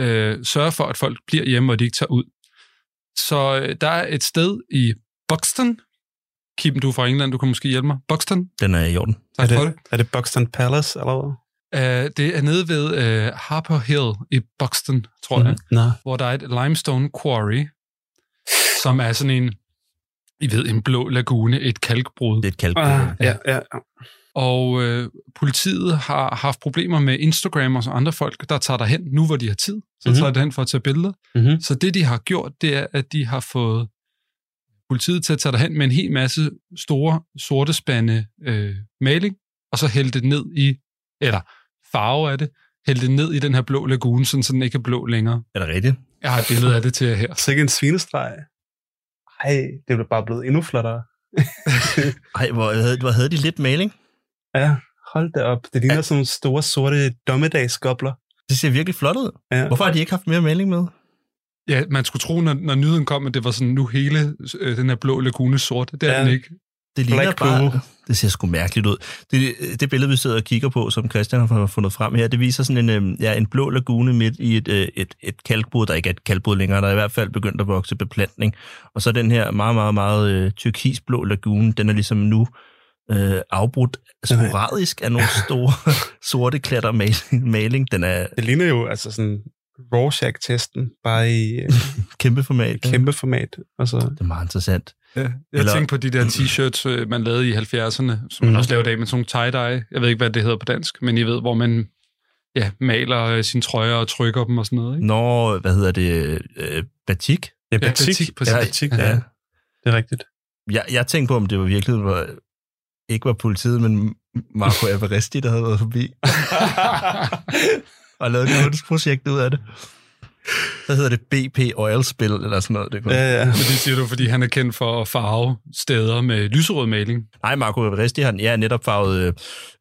øh, sørge for, at folk bliver hjemme, og de ikke tager ud. Så øh, der er et sted i Buxton. Kim, du er fra England, du kan måske hjælpe mig. Buxton,
Den er i orden.
tak
er
for det.
det, er det Buxton Palace, eller hvad?
Øh, det er nede ved øh, Harper Hill i Buxton, tror jeg.
Mhm. Nå.
hvor der er et limestone quarry, som er sådan en, I ved, en blå lagune, et kalkbrud.
Det er et kalk.
Ah, ja, ja.
Og øh, politiet har haft problemer med Instagram og så andre folk, der tager derhen, nu hvor de har tid, så mm-hmm.
Mhm.
tager de derhen for at tage billeder.
Mm-hmm.
Så det, de har gjort, det er, at de har fået politiet til at tage derhen med en hel masse store sorte spande øh, maling, og så hælde det ned i, eller farve af det, hælde det ned i den her blå lagune, sådan, så den ikke er blå længere.
Er det rigtigt?
Jeg har et billede af det til jer her.
Så ikke en svinestreg. Ej, det blev bare blevet endnu flottere.
Ej, hvor havde, hvor havde de lidt maling?
Ja, hold da op. Det ligner ja. sådan nogle store, sorte dommedagsgobler.
Det ser virkelig flot ud.
Ja.
Hvorfor har de ikke haft mere maling med?
Ja, man skulle tro, når, når nyheden kom, at det var sådan, nu hele øh, den her blå lagune sort. Det er ja.
Ja.
den ikke.
Det ligner
Black
bare...
Kubo.
Det ser sgu mærkeligt ud. Det, det billede, vi sidder og kigger på, som Christian har fundet frem her, det viser sådan en, øhm, ja, en blå lagune midt i et, øh, et, et kalkbrud, der ikke er et kalkbrud længere, der er i hvert fald begyndt at vokse beplantning. Og så den her meget, meget, meget øh, turkisblå lagune, den er ligesom nu øh, afbrudt sporadisk af nogle store sorte klatter maling. maling. Den er
Det ligner jo altså sådan Rorschach-testen, bare i øh,
kæmpe format.
kæmpe format. Altså,
Det er meget interessant.
Ja. Jeg Eller... Mm.
Eller-
tænkte på de der t-shirts, øh, man lavede i 70'erne, som man
Mhm.
også laver i dag med sådan nogle tie-dye. Jeg ved ikke, hvad det hedder på dansk, men I ved, hvor man ja, maler øh, sine trøjer og trykker dem og sådan noget. Ikke?
Når, hvad hedder det, øh, batik?
ja,
batik, præcis.
ja, batik, ja.
Ja.
det er rigtigt.
Jeg, jeg tænkte på, om det var virkelig var, ikke var politiet, men Marco Averesti, der havde været forbi og lavet et kunstprojekt ud af det. Så hedder det BP Oil Spill, eller sådan noget. Det kunne.
Ja, ja.
Fordi siger du, fordi han er kendt for at farve steder med lyserød maling.
Nej, Marco Averesti har ja, netop farvet øh,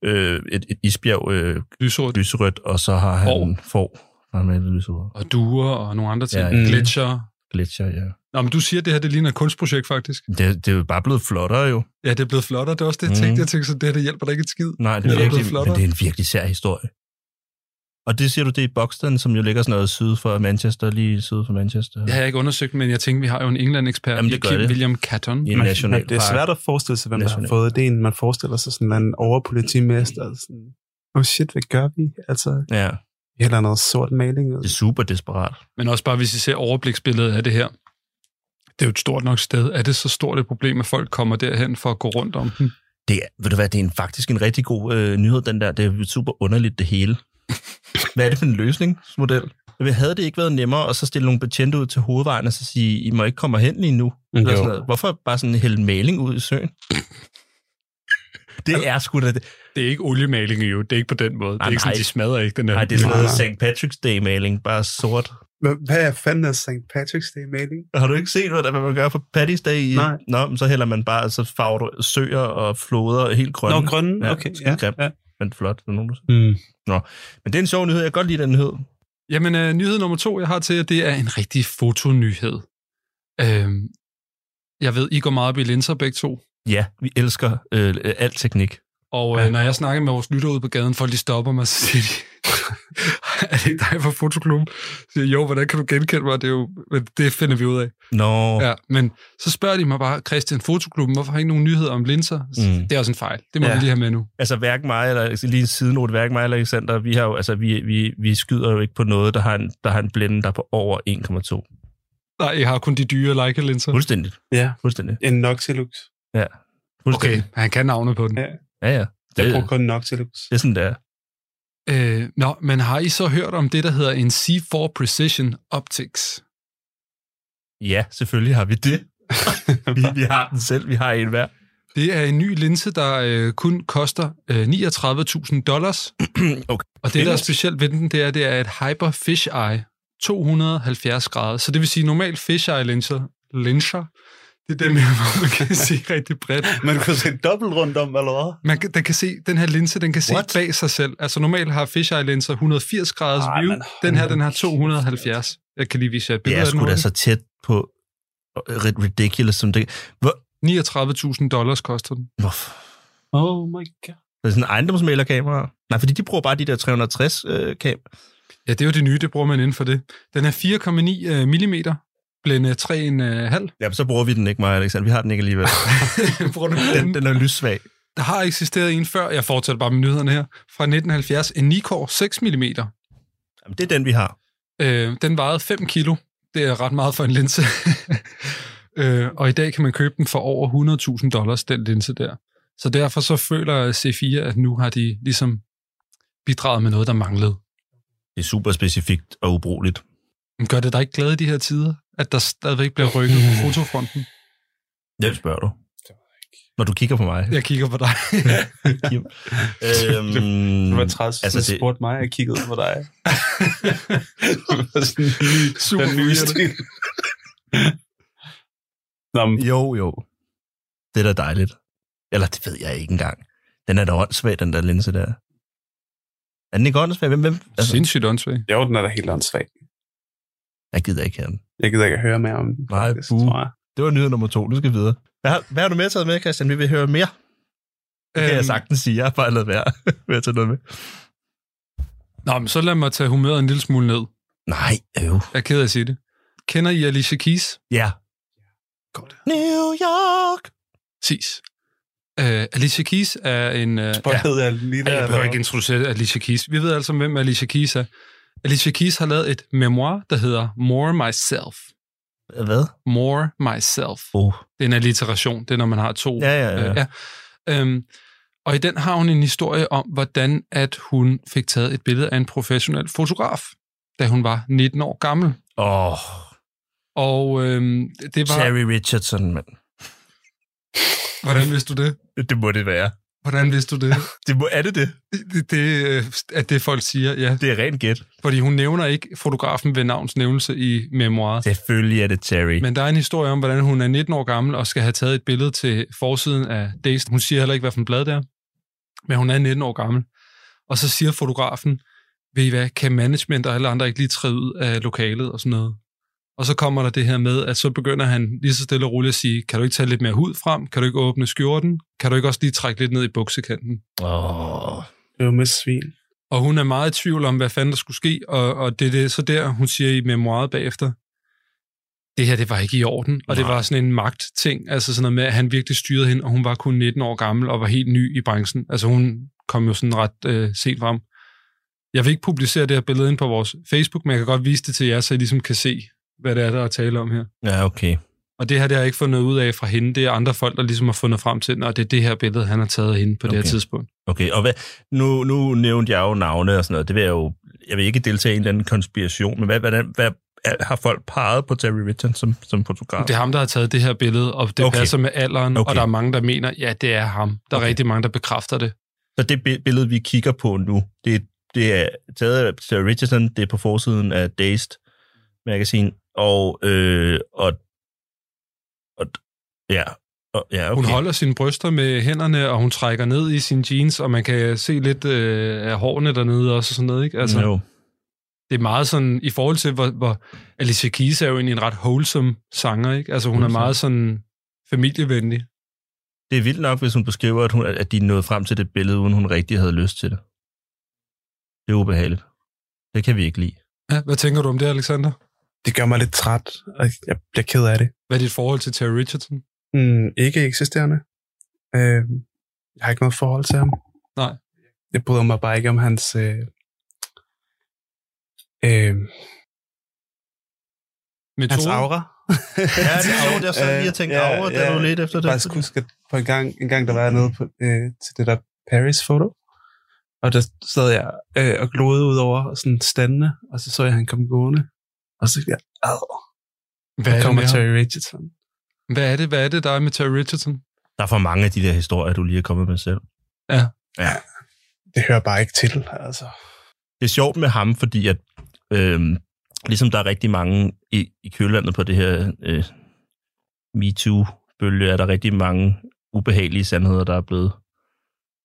øh, et, et isbjerg øh,
Lyserød
lyserødt, og så har han
Får.
får. Han har malet lyserødt.
og duer og nogle andre ting.
Ja,
Ja,
ja.
Glitcher.
Glitcher, ja.
Nå, men du siger, at det her det ligner et kunstprojekt faktisk.
Det, det er jo bare blevet flottere jo.
Ja, det er blevet flottere. Det er også det, jeg
Mhm.
tænkte. Jeg tænkte, så det her det hjælper da ikke et skid.
Nej, det
Det
er,
er blevet
virkelig,
flottere.
men det er en virkelig sær historie. Og det siger du, det er i Buxton, som jo ligger sådan noget syd for Manchester, lige syd for Manchester.
Det har jeg ikke undersøgt, men jeg tænker, vi har jo en England-ekspert,
Jamen, det
i
gør
Kim
det.
William Catton.
I en
Man,
nationalpark.
det er svært at forestille sig, hvem der har
National-
fået det. Man forestiller sig sådan en eller anden overpolitimester. Sådan, oh shit, hvad gør vi? Altså,
Ja.
vi Eller noget sort maling.
Det er super desperat.
Men også bare, hvis I ser overbliksbilledet af det her. Det er jo et stort nok sted. Er det så stort et problem, at folk kommer derhen for at gå rundt om den?
Det er, ved du hvad, det er en, faktisk en rigtig god øh, nyhed, den der. Det er jo super underligt, det hele. hvad er det for en løsningsmodel? Men havde det ikke været nemmere at så stille nogle betjente ud til hovedvejen og så sige, I må ikke komme hen lige nu? Eller
Altså,
sådan noget. Hvorfor bare sådan hælde maling ud i søen? Det er sgu da... Det.
Det er ikke oliemaling jo. Det er ikke på den måde. det er
Nej,
ikke sådan,
nej.
de smadrer ikke den her.
Nej, det er sådan
Nej,
noget
nej.
St. Patrick's Day-maling, bare sort.
Hvad- Hvad er fanden er St. Patrick's Day maling?
Har du ikke set, hvad der- hvad man gør på Patty's Day? i-
Nej.
Nå, men så hælder man bare, så farver du søer og floder helt grønne.
Nå, grønne,
Ja,
okay.
skide grimt.
ja.
Men flot. er der nogen, der siger.
Mm.
Men det er en sjov nyhed. Jeg kan godt lide den nyhed.
Jamen, øh, nyhed nummer to, jeg har til jer, det er en rigtig fotonyhed. Øhm, jeg ved, I går meget op i linser begge to.
Ja, vi elsker øh, øh, al teknik.
Og øh, når jeg snakker med vores lytter ude på gaden, folk de stopper mig, så siger de, er det ikke dig fra fotoklubben? Så siger jeg, jo, hvordan kan du genkende mig? Det, er jo, men det finder vi ud af.
Nå, ja.
Ja, men så spørger de mig bare, Christian, fotoklubben, hvorfor har I ikke nogen nyheder om linser? Mm.
Mm.
Det er også en fejl. Det må ja.
Ja.
vi lige have med nu.
altså hverken mig eller lige en sidenote, hverken mig eller Alexander, vi, har jo, altså, vi, vi, vi skyder jo ikke på noget, der har en, der har en blænde, der er på over 1,2.
Nej, jeg har kun de dyre like linser.
Fuldstændigt.
Ja,
Fuldstændig.
en Noctilux.
Fuldstændig.
Okay, han kan navne på den.
Ja.
Ja, ja.
Jeg
Det,
bruger kun Noctilux.
det er sådan, der.
Øh, nå, men har I så hørt om det, der hedder en C4 Precision Optics?
Ja, selvfølgelig har vi det. Vi, vi har den selv, vi har en hver.
Det er en ny linse, der øh, kun koster øh, 39.000 dollars.
Okay.
Og det, der er
Ellers-
specielt ved den, det er, det er et hyper fish eye 270 grader. Så det vil sige, normalt fish eye linser, linser det er dem, her, hvor man kan se rigtig bredt.
Man kunne se dobbelt rundt om, eller hvad?
Man kan, den kan se, den her linse, den kan se
What?
bag sig selv. Altså normalt har fisheye linser 180 graders
Ej,
view.
men
Den her,
hold
den har
kæft.
270. Jeg kan lige vise jer et
Det
billede
er
af den.
sgu da
hurtigt.
så tæt på ret ridiculous, som det... Hvor,
39.000 dollars koster den.
hvorfor?
Oh my god.
Det er sådan en ejendomsmælerkamera. Nej, fordi de bruger bare de der 360 øh, kam.
Ja, det er jo det nye, det bruger man inden for det. Den er 4,9 mm, blænde 3,5.
Ja, men så bruger vi den ikke, mig og Alexander. Vi har den ikke alligevel.
Bruger du
den, den er lyssvag.
Der har eksisteret en før, jeg fortsætter bare med nyhederne her, fra 1970, en Nikkor 6 mm.
Jamen, det er den, vi har.
Øh, den vejede 5 kilo. Det er ret meget for en linse. øh, og i dag kan man købe den for over 100.000 dollars, den linse der. Så derfor så føler C4, at nu har de ligesom bidraget med noget, der manglede.
Det er super specifikt og ubrugeligt.
Men gør det dig ikke glad i de her tider, at der stadigvæk bliver rykket på fotofronten?
Hvem spørger du? Når du kigger på mig.
Jeg kigger på dig.
Det
øhm,
var træls,
altså,
altså, det...
det-
spurgte mig, og jeg kiggede på dig. Det var sådan en ny-
Super
den
forvirrende.
nye stil. Nå, men,
jo, jo. Det er da dejligt. Eller det ved jeg ikke engang. Den er da åndssvag, den der linse der. Er den ikke åndssvag? Hvem, hvem? Altså,
Sindssygt åndssvagt.
jo, den er da helt åndssvag.
jeg gider ikke have den.
Jeg gider ikke at høre mere om den.
Nej,
faktisk,
buh.
tror jeg.
Det var nyhed nummer to. Nu skal vi videre. Hvad har, hvad har du med taget med, Christian? Vi vil høre mere. Det kan jeg
Øhm,
sagtens sige. Jeg har bare lavet være med at tage noget med.
Nå, men så lad mig tage humøret en lille smule ned.
Nej, øv.
Jeg er ked af at sige det. Kender I Alicia Keys?
Ja.
Godt.
New York.
Præcis. Uh, Alicia Keys er en... Uh,
Hvor hedder jeg lige der?
jeg behøver ikke
eller
introducere Alicia Keys. Vi ved altså, hvem Alicia Keys er. Alicia Keys har lavet et memoir, der hedder More Myself.
Hvad?
More Myself.
Oh.
Det er en alliteration. Det er, når man har to.
Ja, ja, ja.
Øh, ja. Øhm, og i den har hun en historie om, hvordan at hun fik taget et billede af en professionel fotograf, da hun var 19 år gammel.
Åh, oh,
Og øhm, det var...
Terry Richardson, mand.
Hvordan vidste du det?
Det må det være.
Hvordan vidste du det?
Det må, er det det?
det, det øh, at det folk siger, ja.
Det er rent gæt.
Fordi hun nævner ikke fotografen ved navns nævnelse i memoiret.
Selvfølgelig er det Terry. Men,
Men der er en historie om, hvordan hun er 19 år gammel og skal have taget et billede til forsiden af Days. Hun siger heller ikke, hvad for en blad det er, men hun er 19 år gammel. Og så siger fotografen, ved I hvad, kan management og alle andre ikke lige træde ud af lokalet og sådan noget? Og så kommer der det her med, at så begynder han lige så stille og roligt at sige, kan du ikke tage lidt mere hud frem? Kan du ikke åbne skjorten? Kan du ikke også lige trække lidt ned i buksekanten?
oh.
hvad? Det var med svin.
Og hun er meget i tvivl om, hvad fanden der skulle ske, og, og det er det, så der, hun siger i memoiret bagefter, det her, det var ikke i orden, og Nej. det
Nej.
var sådan en magtting, altså sådan noget med, at han virkelig styrede hende, og hun var kun 19 år gammel og var helt ny i branchen. Altså hun kom jo sådan ret øh, sent frem. Jeg vil ikke publicere det her billede ind på vores Facebook, men jeg kan godt vise det til jer, så I ligesom kan se, hvad det er, der er tale om her.
Ja, okay.
Og det her, det har jeg ikke fundet ud af fra hende. Det er andre folk, der ligesom har fundet frem til den, og det er det her billede, han har taget af hende på okay. det
Okay.
her tidspunkt.
Okay, og hvad, nu, nu nævnte jeg jo navne og sådan noget. Det vil jeg jo... Jeg vil ikke deltage i en eller anden konspiration, men hvad, hvordan, hvad er- har folk peget på Terry Richards som, som fotograf?
Det er ham, der har taget det her billede, og det
Okay.
okay. passer med alderen, okay.
Okay.
og der er mange, der mener, ja, det er ham. Der er
Okay.
okay. rigtig mange, der bekræfter det.
Så det bi- billede, vi kigger på nu, det, det er taget af Sarah Richardson, det er på forsiden af Dazed Magazine, og, øh, og, og ja, og, ja,
Hun
okay.
holder sine bryster med hænderne, og hun trækker ned i sine jeans, og man kan se lidt øh, af hårene dernede også og sådan noget, ikke? Altså,
jo.
det er meget sådan, i forhold til, hvor, hvor Alicia Keys er jo egentlig en ret wholesome sanger, ikke? Altså, hun
Wholesome.
er meget sådan familievenlig.
Det er vildt nok, hvis hun beskriver, at, hun, at de nåede frem til det billede, uden hun rigtig havde lyst til det. Det er ubehageligt. Det kan vi ikke lide.
Ja, hvad tænker du om det, Alexander?
Det gør mig lidt træt, og jeg bliver ked af det.
Hvad er dit forhold til Terry Richardson?
Mm, ikke eksisterende. Øh, jeg har ikke noget forhold til ham.
Nej.
Jeg bryder mig bare ikke om hans... Øh, øh, hans
Metode?
aura.
Ja, det er jo det, så lige at tænke
Øh, ja,
over, da
ja.
du lidt efter
Jeg
det.
kan faktisk huske, at på en gang, en gang der var jeg nede på, øh, til det der Paris-foto, og der sad jeg øh, og glodede ud over sådan standene, og så så jeg, han kom gående, og så tænkte jeg, ad,
Hvad er, det
kommer
med ham?
Terry Richardson.
hvad er det, hvad er det, der er med Terry Richardson?
Der er for mange af de der historier, du lige er kommet med selv.
Det hører bare ikke til, altså.
det er sjovt med ham, fordi at øhm, ligesom der er rigtig mange i, i kølvandet på det her øh, MeToo-bølge, er der rigtig mange ubehagelige sandheder, der er blevet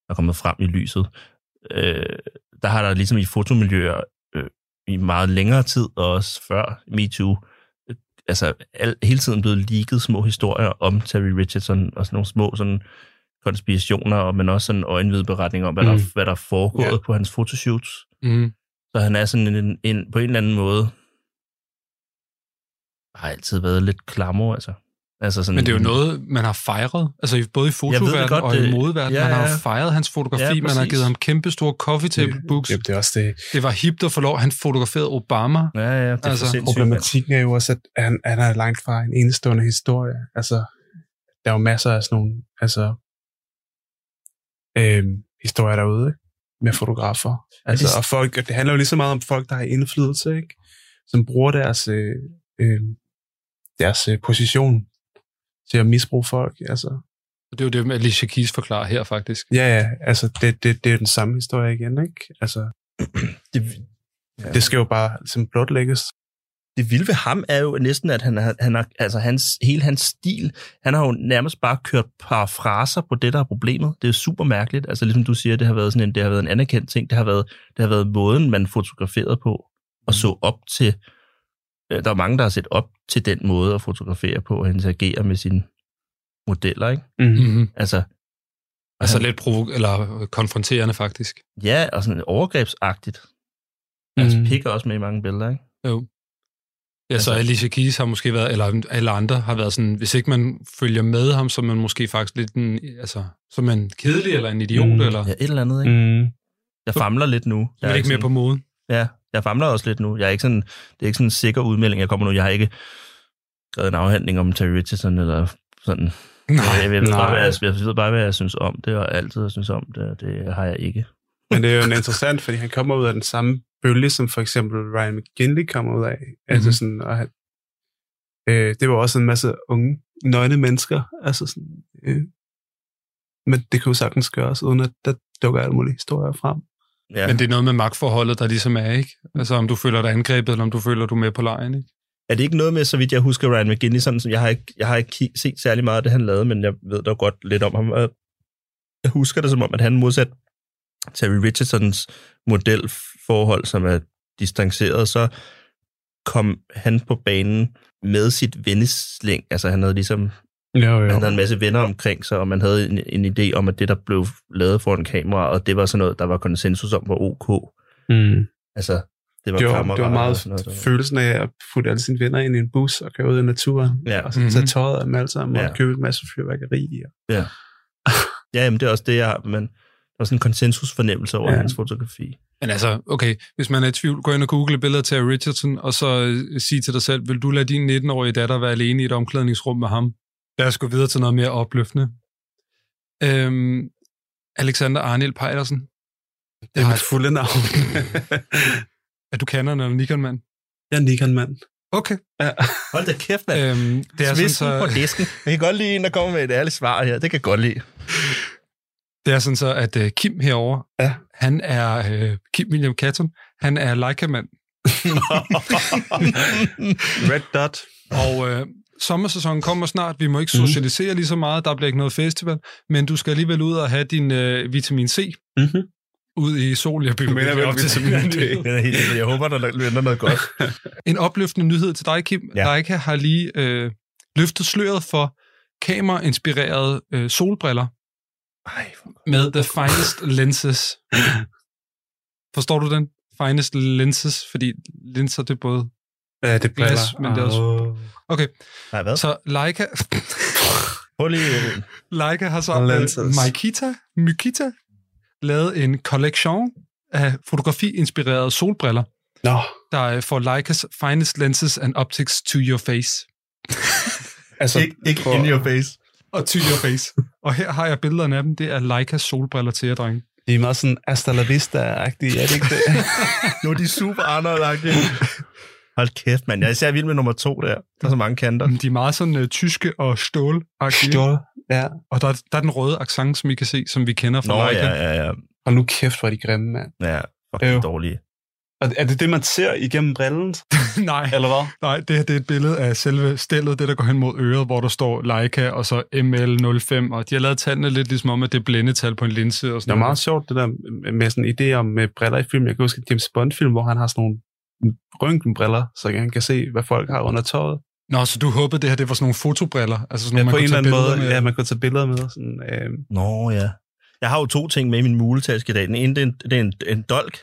der er kommet frem i lyset. Øh, der har der ligesom i fotomiljøer øh, i meget længere tid, og også før MeToo, øh, altså al, hele tiden blevet leaget små historier om Terry Richardson og sådan nogle små sådan konspirationer, og- men også sådan øjenvidberetninger om, hvad, mm.
Mm.
der, hvad der er foregået
Ja.
på hans fotoshoots.
Mm.
Så han er sådan en, en, på en eller anden måde, har altid været lidt klammer, altså. altså sådan,
Men det er jo noget, man har fejret. Altså i- både i
det
fotoverdenen
godt,
og i
det-
modeverdenen.
ja,
Ja, Man har
ja.
jo fejret hans
Ja,
fotografi. Ja, man har
præcis.
givet ham kæmpe store coffee table books.
Jamen, det er også det.
Det var hipt at få lov. Han fotograferede Obama.
Ja, ja, det er altså,
Altså,
for sindssygt. mand.
Problematikken er jo også, at han, han er langt fra en enestående historie. Altså, der er jo masser af sådan nogle altså, øh, historier derude ikke? med fotografer. Altså, og, folk, og det handler jo lige så meget om folk, der har indflydelse, ikke? som bruger deres, øh, øh, deres øh, position til at misbruge folk. Altså,
Og det er jo det, Alicia Keys forklarer her faktisk.
ja, ja, altså det, det, det er jo den samme historie igen, ikke? Altså,
Det, ja.
det skal jo bare ligesom, blotlægges.
det vilde ved ham er jo næsten, at han, har- han har, altså hans, hele hans stil, han har jo nærmest bare kørt par fraser på det, der er problemet. Det er super mærkeligt. Altså ligesom du siger, det har været sådan en, det har været en anerkendt ting. Det har været, det har været måden, man fotograferede på og så op til. Øh, Der er mange, der har set op til den måde at fotografere på og interagere med sine modeller, ikke?
Mm-hmm.
Mm-hmm.
Altså,
Altså
han-
lidt provo- eller øh, konfronterende faktisk.
Ja, og sådan overgrebsagtigt. Mm. Altså,
Mhm.
pik er også med i mange billeder, ikke?
Ja, så
Altså-
Alicia Keys har måske været, eller alle andre har været sådan, hvis ikke man følger med ham, så er man måske faktisk lidt en, altså, så er man kedelig eller en idiot,
Mm,
mm, eller
Mhm. Ja, et eller andet, ikke? Mm.
Mm.
Jeg famler lidt nu.
man
Jeg
er ikke mere
sådan,
på moden.
Ja, jeg famler også lidt nu. Jeg er ikke sådan, det er ikke sådan en sikker udmelding, jeg kommer nu. Jeg har ikke skrevet en afhandling om Terry Richardson, eller sådan.
Nej.
Jeg, ved bare,
nej.
hvad jeg, jeg ved bare, hvad jeg synes om det, og altid har synes om det, og det har jeg ikke.
Men det er jo interessant, fordi han kommer ud af den samme bølge, som for eksempel Ryan McGinley kommer ud af. Mm-hmm. Altså
Mhm.
sådan, og han, øh, det var også en masse unge, nøgne mennesker. Altså sådan, øh, men det kunne sagtens gøres, uden at der dukker alle mulige historier frem.
Ja.
Men det er noget med magtforholdet, der ligesom er, ikke? Altså om du føler dig angrebet, eller om du føler, du er med på lejen, ikke?
Er det ikke noget med, så vidt jeg husker, Ryan McGinley, sådan som jeg har ikke, jeg har ikke ki- set særlig meget af det, han lavede, men jeg ved dog godt lidt om ham. Og Jeg husker det som om, at han modsat Terry Richardsons modelforhold, som er distanceret, så kom han på banen med sit venneslæng. Altså han havde ligesom,
Jo, jo.
han havde en masse venner omkring sig, og man havde en, en idé om, at det, der blev lavet foran kamera, og det var sådan noget, der var konsensus om, var ok.
Mm.
Altså, det var,
Det, var, det
kammerater
var
og
meget
sådan noget, der var-
følelsen af at putte alle sine venner ind i en bus og køre ud i naturen.
Ja.
Og så tage
Mhm.
tøjet af dem alle sammen
Ja.
og købe en masse fyrværkeri. Og,
Ja, jamen det er også det, jeg har, men Der var sådan en konsensusfornemmelse over
Ja.
ja. hans fotografi.
Men altså, okay, hvis man er i tvivl, gå ind og google billeder til Richardson, og så øh, sig til dig selv, vil du lade din 19-årige datter være alene i et omklædningsrum med ham? Lad os gå videre til noget mere opløftende. Øhm, Alexander Arnild Pejlersen,
Det er mit fulde navn.
er du Canon eller Nikon-mand?
jeg er Nikon-mand.
Okay.
Hold da kæft, mand.
Øhm, det er sådan,
Svisten på
så,
disken. Jeg kan godt lide en, der kommer med et ærligt svar her. Det kan jeg godt lide.
det er sådan så, at øh, Kim herover,
Ja.
han er, øh, Kim William Catton, han er Leica-mand,
Red Dot.
Og øh, sommersæsonen kommer snart. Vi må ikke
Mhm.
socialisere lige så meget. Der bliver ikke noget festival. Men du skal alligevel ud og have din øh, vitamin C
Mhm.
ud i sol. Jeg bygger
Du mener
virkelig
vel
op til
vitamin
den her
D?
nyhed.
Den er helt, vildt. jeg håber, der lønner noget godt.
En opløftende nyhed til dig, Kim.
Ja.
Ja. Leica har lige øh, løftet sløret for kamerainspirerede øh, solbriller
Ej,
med the finest lenses. Forstår du den? Finest lenses, fordi linser det er både...
Ja, Øh, det er
Glas,
briller.
men det er også-
Åh.
Okay,
Nej, hvad?
så Leica,
Prøv lige...
Leica har så
Lenses.
uh, Mykita, Mykita lavet en collection af fotografi-inspirerede solbriller,
Nå,
der uh, får Leicas finest lenses and optics to your face.
altså... prøv-
face.
Og to your face. og her har jeg billederne af dem. Det er Leicas solbriller til jer, drenge.
De er meget sådan Asta La Vista-agtige, er det ikke det?
Nu er de super anderlagtige. Hold kæft, mand. Jeg er især vild med nummer to der. Der er så mange kanter.
De er meget sådan uh, tyske og stål
Stjål. Ja.
Og der, der er den røde accent, som I kan se, som vi kender fra
Nå,
Leica.
ja, ja, ja.
Og nu kæft, hvor er de grimme, mand.
Ja, fucking
Øv.
dårlige.
Og er det det, man ser igennem brillen,
Nej,
eller hvad?
nej, det her det er et billede af selve stillet, det der går hen mod øret, hvor der står Leica og så ML05, og de har lavet tallene lidt ligesom om, at det er blændetal på en linse og
Det
sådan
var meget sjovt, det der med sådan idéer med briller i film. Jeg kan huske en James Bond-film, hvor han har sådan nogle røntgenbriller, så han kan se, hvad folk har under tøjet.
Nå, så du håbede, det her det var sådan nogle fotobriller? Altså sådan
Ja,
nogle,
på en
man
eller
kunne
anden
tage
måde.
billeder
Ja, man kunne tage billeder med. Sådan, øh,
Nå, ja. Jeg har jo to ting med i min muletaske i dag. Den ene, det er en, det er en, en dolk.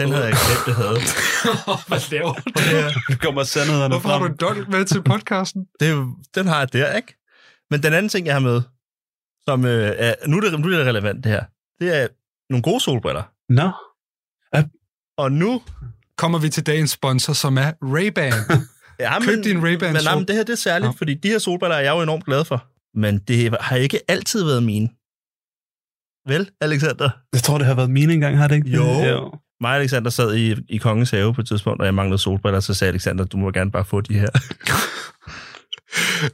Den havde jeg glemt, det havde.
Hvad laver du?
du kommer sandhederne
Hvorfor har du en dolk med til podcasten?
det, er jo- den har jeg der, ikke? Men den anden ting, jeg har med, som øh, er, nu, er det, nu er det relevant det her, det er nogle gode solbriller.
Nå,
Og nu...
Kommer vi til dagens sponsor, som er Ray-Ban.
Ja,
Køb din Ray-Ban.
men, nej,
sol.
men det her det er særligt,
Nå.
fordi de her solbriller er jeg jo enormt glad for. Men det har ikke altid været mine. Vel, Alexander?
jeg tror, det har været mine engang, har det ikke?
Jo.
Ja.
Mig og Alexander sad i, i Kongens Have på et tidspunkt, og jeg manglede solbriller, så sagde Alexander, du må gerne bare få de her.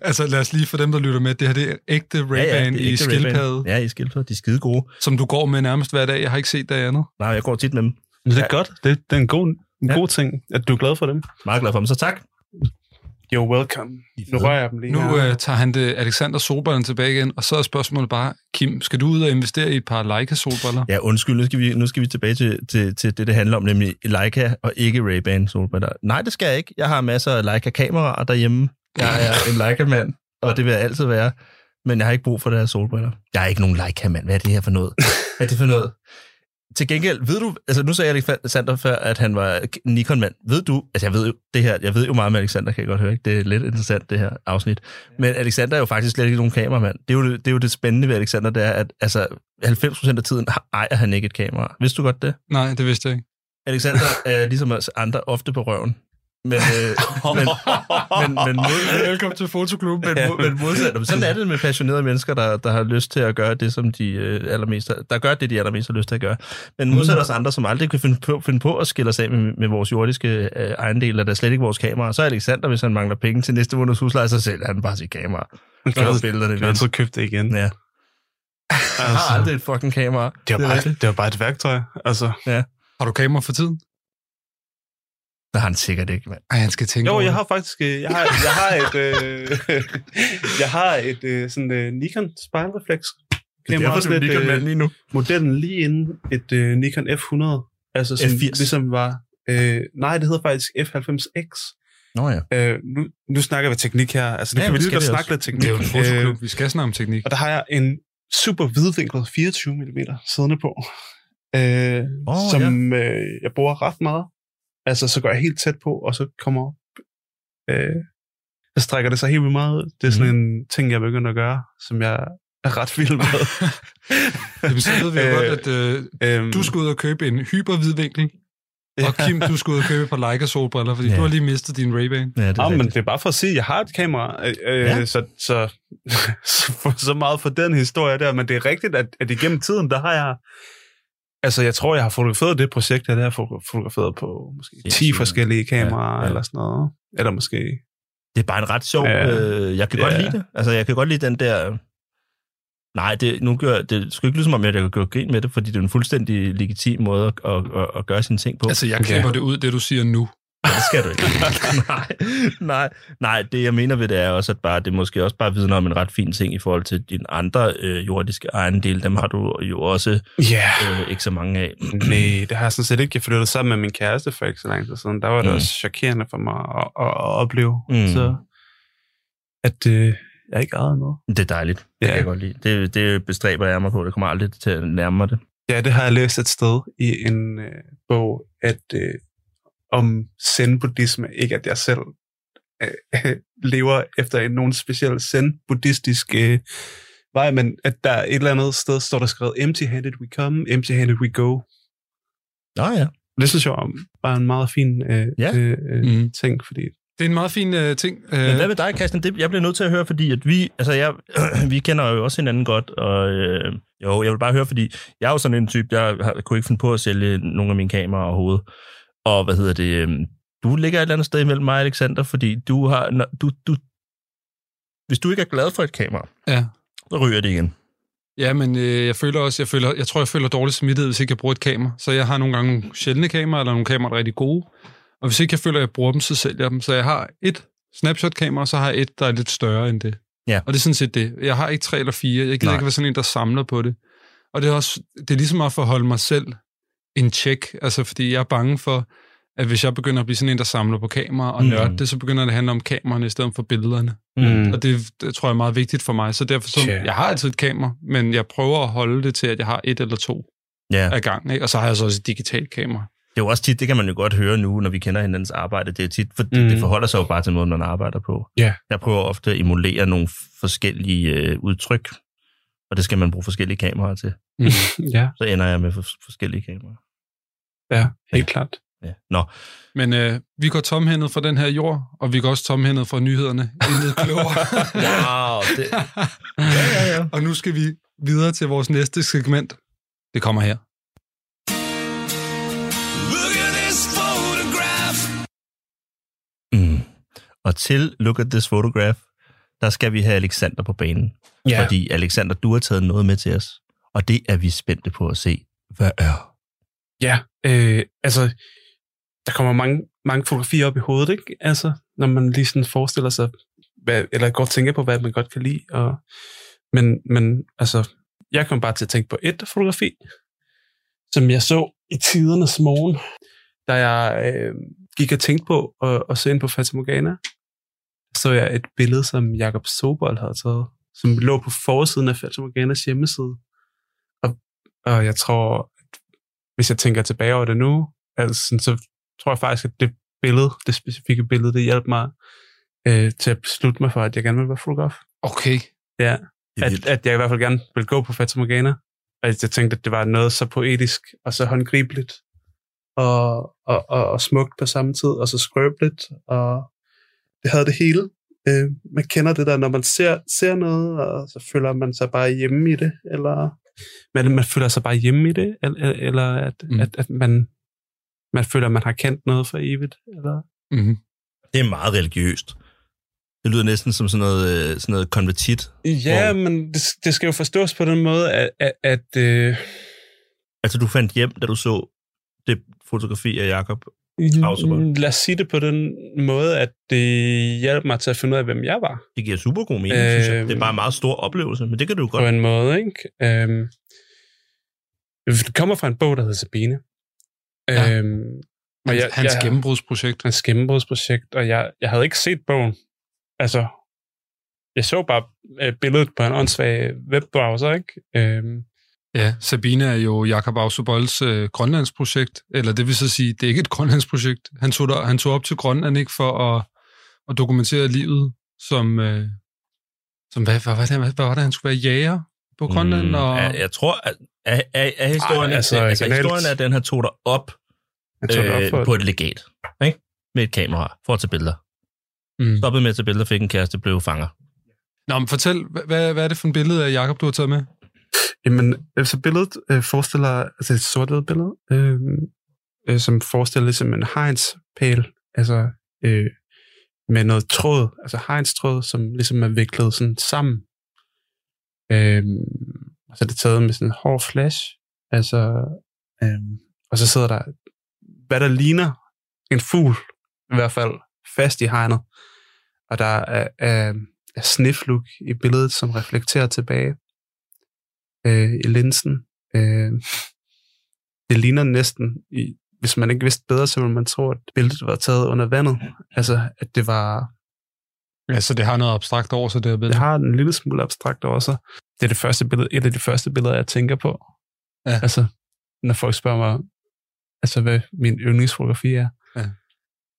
altså lad os lige for dem, der lytter med, det her det er ægte Ray-Ban
det er
ja, ja, i
ægte Ray-Ban.
skildpadde, ja.
Ja, i skildpadde. De er skide gode.
som du går med nærmest hver dag. Jeg har ikke set det andet.
Nej, jeg går tit med dem.
Men det er godt. Det, det er en god, en
Ja.
god ting, at du er glad for dem.
Meget glad for dem, så tak.
You're welcome.
De er
Nu
fede.
rører jeg dem lige
Nu
her.
øh, tager han det Alexander solbrillerne tilbage igen, og så er spørgsmålet bare, Kim, skal du ud og investere i et par Leica-solbriller?
Ja, undskyld, nu skal vi, nu skal vi tilbage til, til, til det, det handler om, nemlig Leica og ikke Ray-Ban solbriller. Nej, det skal jeg ikke. Jeg har masser af Leica-kameraer derhjemme. Jeg er en Leica-mand, og det vil jeg altid være. Men jeg har ikke brug for deres solbriller. Jeg er ikke nogen Leica-mand. Hvad er det her for noget? Hvad er det for noget? Til gengæld, ved du, altså nu sagde Alexander før, at han var Nikon-mand. Ved du, altså jeg ved jo det her, jeg ved jo meget med Alexander, kan jeg godt høre, ikke? Det er lidt interessant, det her afsnit. Men Alexander er jo faktisk slet ikke nogen kameramand. Det er jo det, det, er jo det spændende ved Alexander, det er, at altså, 90% af tiden ejer han ikke et kamera. Vidste du godt det?
Nej, det vidste jeg ikke.
Alexander er ligesom os andre ofte på røven. Men, øh, men, men, men, mod,
Velkommen til Fotoklubben.
men, mod, men modsat. Jamen, Sådan er det med passionerede mennesker, der, der har lyst til at gøre det, som de øh, allermest, har- der gør det, de allermest har lyst til at gøre. Men modsat os andre, som aldrig kan finde på, finde på at skille os af med, med vores jordiske øh, ejendel, eller der er slet ikke vores kamera. Så er Alexander, hvis han mangler penge til næste måneds husleje, så sælger han bare sit kamera.
Kan
Så
du-
billederne
Kan du
lidt.
så købe det igen? Altså,
Ja, jeg har aldrig et fucking kamera.
det, var bare, det var bare et værktøj. Altså.
Har du kamera for tiden?
Det har han sikkert ikke, mand.
Ej, han skal tænke
Jo,
over
jeg
det.
har faktisk, øh, jeg har, jeg har et, øh, jeg har et øh, sådan øh, Nikon spejlrefleks. også lidt, øh,
lige nu.
modellen lige inden et øh, Nikon F100. Altså som
F80.
ligesom var, øh, nej, det hedder faktisk F90X.
Nå ja.
Øh, nu, nu snakker vi teknik her. Altså, nu
Ja,
ja, kan vi
men
lige
det
godt
skal vi
snakke lidt teknik.
Det er jo en fotoklub.
Øh,
Vi skal snakke om teknik.
og der har jeg en super hvidvinklet 24 mm siddende på, øh,
Åh,
oh, som ja. øh, jeg bruger ret meget. Altså, så går jeg helt tæt på, og så kommer... Øh, så strækker det sig helt vildt meget ud. Det er sådan mm. en ting, jeg begynder at gøre, som jeg er ret vild med.
Jamen, så ved vi jo
Øh,
godt, at øh,
øhm,
du skal ud og købe en hypervidvinkel, og Kim, du skal ud og købe et par Leica solbriller, fordi
Ja.
du har lige mistet din Ray-Ban.
Ja, det
Ja,
er
Ah, men
rigtigt.
det er bare for at sige, at jeg har et kamera, øh,
Ja.
ja. så, så, så, for, så meget for den historie der. Men det er rigtigt, at, at igennem tiden, der har jeg... Altså, jeg tror, jeg har fotograferet det projekt, her, der har jeg fotograferet på måske 10
Sindssygt.
forskellige kameraer
Ja,
ja,
ja.
ja. eller sådan noget. Eller måske...
Det er bare en ret sjov...
Ja.
Øh, jeg kan godt
Ja.
lide det. Altså, jeg kan godt lide den der... Nej, det, nu gør, det skal ikke lyde som om, at jeg kan gøre grin med det, fordi det er en fuldstændig legitim måde at, at, at, at gøre sine ting på.
Altså, jeg klipper det ud, det du siger nu.
Nej, det skal du ikke. nej, nej, nej, det jeg mener ved det er også, at bare, det måske også bare vidner om en ret fin ting i forhold til dine andre øh, jordiske ejendele. Dem har du jo også
Ja,
øh, ikke så mange af.
nej, det har jeg sådan set ikke. Jeg flyttede sammen med min kæreste for ikke så lang tid siden. Der var det
Mm.
mm. også chokerende for mig at, at, at opleve.
Mm.
Mm. Så at øh, jeg ikke ejede noget.
Det er dejligt. Det
Ja.
kan jeg godt lide. Det, det bestræber jeg mig på. Det kommer aldrig til at nærme mig det.
Ja, det har jeg læst et sted i en øh, bog, at øh, om zen-buddhisme, ikke at jeg selv øh, lever efter en, nogen speciel zen-buddhistisk øh, vej, men at der et eller andet sted står der skrevet, empty-handed we come, empty-handed we go.
Nå ja.
Det synes jeg var en meget fin øh,
Ja.
øh, øh,
Mm.
ting, fordi
Det er en meget fin øh, ting. Øh,
Men hvad med dig, Christian? Det, jeg bliver nødt til at høre, fordi at vi, altså jeg, vi kender jo også hinanden godt, og øh, jo, jeg vil bare høre, fordi jeg er jo sådan en type, jeg har, kunne ikke finde på at sælge nogle af mine kameraer overhovedet. Og hvad hedder det? Øh, du ligger et eller andet sted imellem mig, og Alexander, fordi du har, når, du, du, hvis du ikke er glad for et kamera,
Ja.
så ryger det igen.
Ja, men øh, jeg føler også, jeg, føler, jeg tror, jeg føler dårlig samvittighed, hvis ikke jeg bruger et kamera. Så jeg har nogle gange nogle sjældne kameraer, eller nogle kameraer, der er rigtig gode. Og hvis ikke jeg føler, at jeg bruger dem, så sælger jeg dem. Så jeg har et snapshot-kamera, og så har jeg et, der er lidt større end det.
Ja.
Og det er sådan set det. Jeg har ikke tre eller fire. Jeg gider
Nej.
ikke være sådan en, der samler på det. Og det er, også, det er ligesom at forholde mig selv en tjek. Altså, fordi jeg er bange for, at hvis jeg begynder at blive sådan en, der samler på kameraer og
Mm.
nørde det, så begynder det at handle om kameraerne i stedet for billederne.
Mm.
Og det, det tror jeg er meget vigtigt for mig. Så derfor, så,
Ja.
jeg har altid et kamera, men jeg prøver at holde det til, at jeg har et eller to
Ja.
af gangen. Ikke? Og så har jeg så også et digitalt kamera.
Det er jo også tit, det kan man jo godt høre nu, når vi kender hinandens arbejde, det er tit, for mm.
Mhm.
det forholder sig jo bare til måden, man arbejder på.
Ja.
Jeg prøver ofte at emulere nogle forskellige øh, udtryk, og det skal man bruge forskellige kameraer til.
ja,
Så ender jeg med for- forskellige kameraer.
ja, helt klart.
Ja. Nå,
Men øh, vi går tomhændet fra den her jord, og vi går også tomhændet fra nyhederne. Intet klogere.
wow, det, ja, ja, ja.
og nu skal vi videre til vores næste segment. Det kommer her.
Mm. Og til Look at this photograph, der skal vi have Alexander på banen. Ja. Fordi Alexander, du har taget noget med til os, og det er vi spændte på at se. Hvad er?
Ja, øh, altså, der kommer mange, mange fotografier op i hovedet, ikke? Altså, når man lige sådan forestiller sig, hvad, eller godt tænker på, hvad man godt kan lide. Og, men, men altså, jeg kom bare til at tænke på et fotografi, som jeg så i tidernes morgen, da jeg øh, gik og tænkte på at, at se ind på Fatamorgana. Så jeg et billede, som Jakob Sobol havde taget, som lå på forsiden af Fatamorganas hjemmeside. Og, og jeg tror, hvis jeg tænker tilbage over det nu, altså, sådan, så tror jeg faktisk, at det billede, det specifikke billede, det hjalp mig øh, til at beslutte mig for, at jeg gerne vil være fotograf.
Okay.
Ja,
Det er
at,
vildt.
at jeg i hvert fald gerne vil gå på Fata Morgana. Og jeg tænkte, at det var noget så poetisk og så håndgribeligt og, og, og, og smukt på samme tid, og så skrøbeligt, og det havde det hele. Øh, man kender det der, når man ser, ser noget, og så føler man sig bare hjemme i det, eller man, man føler sig bare hjemme i det, eller, eller at,
Mm.
mm. at, at man, man føler, at man har kendt noget for evigt. Eller,
Mm-hmm.
Det er meget religiøst. Det lyder næsten som sådan noget, øh, sådan noget konvertit.
ja, wow. men det, det skal jo forstås på den måde, at, at, at øh,
Altså, du fandt hjem, da du så det fotografi af Jakob. Auserbold.
Lad os sige det på den måde, at det hjalp mig til at finde ud af, hvem jeg var,
Det giver super god mening, øh, synes jeg.
Øh,
Det er bare en meget stor oplevelse, men det kan du jo
på
godt.
en måde. Ikke? Øhm, det kommer fra en bog, der hedder Sabine.
Ja.
Øhm, og
Hans,
jeg,
jeg, hans
jeg,
gennembrudsprojekt.
Hans gennembrudsprojekt, og jeg, jeg havde ikke set bogen. Altså, jeg så bare øh, billedet på en åndssvag webbrowser, ikke? Øhm,
Ja, Sabine er jo Jakob Ausubolds øh, Grønlandsprojekt, eller det vil så sige, det er ikke et Grønlandsprojekt. Han tog, der, han tog op til Grønland ikke for at, at dokumentere livet som, øh, som hvad, hvad, hvad, hvad, hvad var det, han skulle være jæger? på Grønland? Mm, og...
jeg, jeg tror, at, er, er, er historien,
Ej,
Ej,
altså,
altså, altså,
originalt.
historien er, at den her tog dig op,
Jeg tog det op
øh,
for,
på et legat. Ikke? Med et kamera, for at tage billeder.
Mm.
Stoppede med at tage billeder, fik en kæreste, blev fanger.
Nå, men fortæl, hvad, hvad hvad er det for en billede af Jakob, du har taget med?
Jamen, altså billedet øh, forestiller, altså et sort billede, øh, øh, som forestiller ligesom en hegnspæl, altså øh, med noget tråd, altså hegnstråd, som ligesom er viklet sådan sammen. Øh, altså det er taget med sådan en hård flash, altså, øh, og så sidder der, hvad der ligner en fugl, i hvert fald, fast i hegnet. Og der er, er, er sneflug i billedet, som reflekterer tilbage øh, i linsen. Øh, det ligner næsten, i, hvis man ikke vidste bedre, så ville man tro, at billedet var taget under vandet. Altså, at det var,
Ja, så det har noget abstrakt over sig, det her
det
billede.
har en lille smule abstrakt over sig. Det er det første billede, et af de første billeder, jeg tænker på.
Ja.
Altså, når folk spørger mig, altså, hvad min yndlingsfotografi er.
Ja.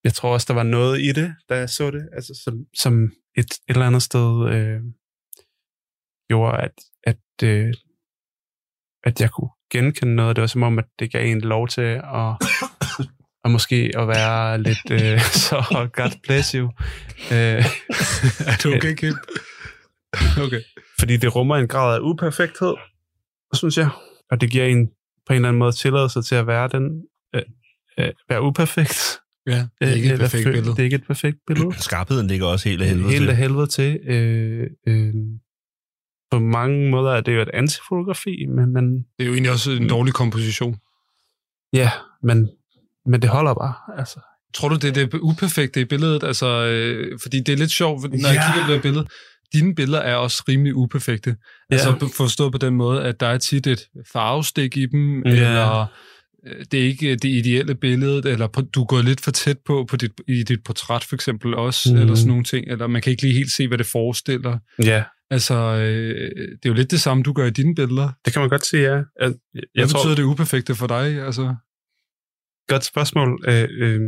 Jeg tror også, der var noget i det, da jeg så det, altså, som, som et, et eller andet sted øh, gjorde, at, at, øh, at jeg kunne genkende noget. Det var som om, at det gav en lov til at, at måske at være lidt øh, så God bless you. Øh,
er du okay, Kim? okay.
fordi det rummer en grad af uperfekthed, synes jeg. Og det giver en på en eller anden måde tilladelse til at være den, øh, øh, være uperfekt.
Ja, det er ikke
Øh,
et
eller
perfekt
føl-
billede.
Det er ikke et perfekt billede.
Skarpheden ligger også helt af helvede.
Helt
til.
af helvede til. Øh, øh, på mange måder er det jo et antifotografi, men, men,
Det er jo egentlig også en dårlig komposition.
ja, men, men det holder bare. Altså.
Tror du, det er det uperfekte i billedet? Altså, øh, fordi det er lidt sjovt, når ja. jeg
Ja.
kigger på det her billede. Dine billeder er også rimelig uperfekte. Ja. Altså på- forstået på den måde, at der er tit et farvestik i dem, ja.
Ja.
eller øh, det er ikke det ideelle billede, eller på- du er gået lidt for tæt på, på dit, i dit portræt for eksempel også, mm.
Mhm.
eller sådan nogle ting, eller man kan ikke lige helt se, hvad det forestiller.
ja,
Altså, øh, det er jo lidt det samme, du gør i dine billeder.
det kan man godt sige, ja. Jeg, jeg,
Hvad
jeg
betyder
tror,
det uperfekte for dig? Altså,
godt spørgsmål. Øh, øh,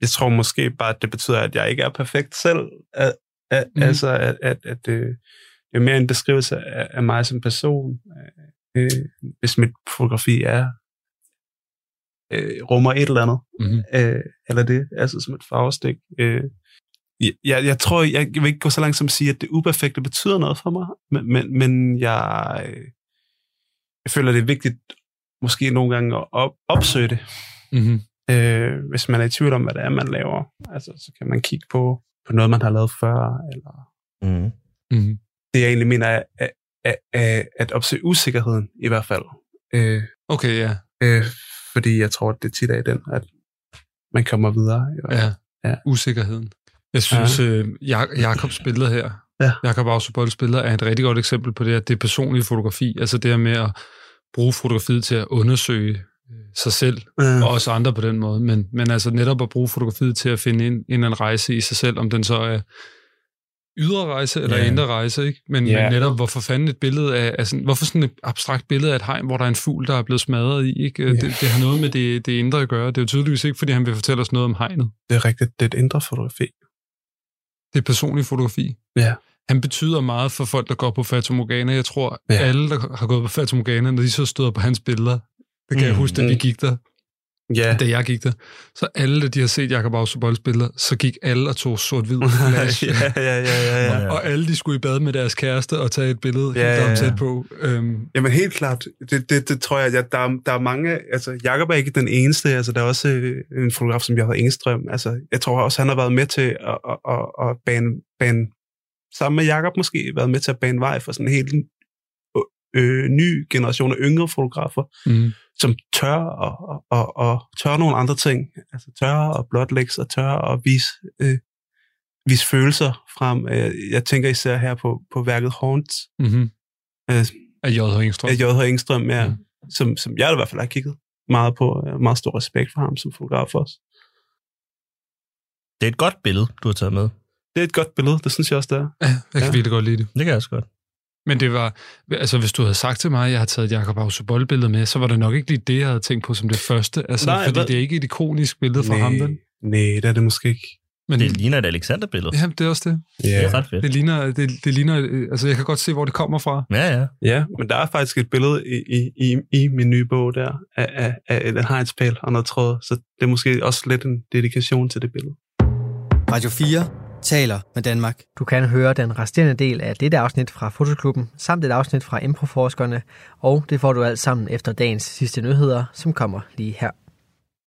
jeg tror måske bare, at det betyder, at jeg ikke er perfekt selv. At, at,
Mhm.
mm. Altså, at, at, at det, det er mere en beskrivelse af, af mig som person. Øh, hvis mit fotografi er øh, rummer et eller andet.
Mhm.
Øh, eller det, altså som et farvestik. Øh, jeg- jeg, jeg tror, jeg, jeg vil ikke gå så langt som at sige, at det uperfekte betyder noget for mig, men, men, men jeg, øh, jeg føler, det er vigtigt måske nogle gange at op, opsøge det
mm-hmm.
øh, hvis man er i tvivl om, hvad det er, man laver. Altså, så kan man kigge på, på noget, man har lavet før. Eller...
Mm.
Mm-hmm.
Det jeg egentlig mener er, er, er, er at opsøge usikkerheden, i hvert fald. Øh,
okay, ja.
øh, fordi jeg tror, at det tit er i den, at man kommer videre. i hvert fald.
Ja. ja.
Ja.
Usikkerheden. Jeg synes, ja. øh, Jak- Jakobs billede her, ja.
Ja.
Jakob Ausubolds billede, er et rigtig godt eksempel på det, at det er personlige fotografi. Altså det her med at bruge fotografiet til at undersøge øh, sig selv,
Øh,
og også andre på den måde. Men, men altså netop at bruge fotografiet til at finde en, en eller anden rejse i sig selv, om den så er ydre rejse eller
Ja.
indre rejse, ikke? Men,
Ja.
men netop, hvorfor fanden et billede af, af sådan, hvorfor sådan et abstrakt billede af et hegn, hvor der er en fugl, der er blevet smadret i, ikke? Øh, Det, det har noget med det, det indre at gøre. Det er jo tydeligvis ikke, fordi han vil fortælle os noget om hegnet.
det er rigtigt. Det er et indre fotografi.
Det er personlig fotografi.
Ja.
Han betyder meget for folk, der går på Fata Morgana. Jeg tror, ja.
Ja.
alle, der har gået på Fata Morgana, når de så støder på hans billeder, det kan mm, jeg
Mm,
huske, da vi gik der,
Ja,
da jeg gik der, så alle, der de har set Jacob Ausubolds billeder, så gik alle og tog sort-hvid flash.
ja, ja, ja, ja, ja.
Og alle, de skulle i bad med deres kæreste og tage et billede ja,
Ja,
helt
ja,
ja,
ja.
tæt på. Øhm,
Jamen helt klart. Det, det, det tror jeg, jeg der, er- der er mange... Altså, Jakob er ikke den eneste. Altså, der er også øh, en fotograf, som jeg hedder Engstrøm. Altså, jeg tror også, han har været med til at, at, at, at bane, bane... Sammen med Jakob måske, været med til at bane vej for sådan en helt øh, ny generation af yngre fotografer,
mm,
som tør og, og, og, og tør nogle andre ting. Altså tør at blotlægge sig, tør at vise, øh, vise følelser frem. Øh, Jeg tænker især her på, på værket Horns,
mm-hmm.
øh,
Af J. Højengstrøm.
af J.H. Engstrøm, ja,
Mm.
mm. som, som jeg i hvert fald har kigget meget på. Jeg har meget stor respekt for ham som fotograf også.
Det er et godt billede, du har taget med.
Det er et godt billede, det synes jeg også, det er.
Ja, jeg kan
Ja.
virkelig godt lide det.
Det kan jeg også godt.
Men det var, altså hvis du havde sagt til mig, at jeg har taget Jacob Ausubold billede med, så var det nok ikke lige det, jeg havde tænkt på som det første. Altså, Nej,
Nej,
fordi
hvad-
det er ikke et ikonisk billede fra ham, vel?
Nej, det er det måske ikke.
Men,
Det ligner et Alexander-billede.
ja, det er også det.
Det
Mm. Ja.
er ret fedt.
Det ligner, det, det ligner, øh, altså jeg kan godt se, hvor det kommer fra.
Ja, ja.
ja, men der er faktisk et billede i, i, i, i min nye bog der, af, af, af en hegnspæl og noget tråd, så det er måske også lidt en dedikation til det billede.
Radio 4 taler med Danmark.
Du kan høre den resterende del af dette afsnit fra Fotoklubben, samt et afsnit fra Improforskerne, og det får du alt sammen efter dagens sidste nyheder, som kommer lige her.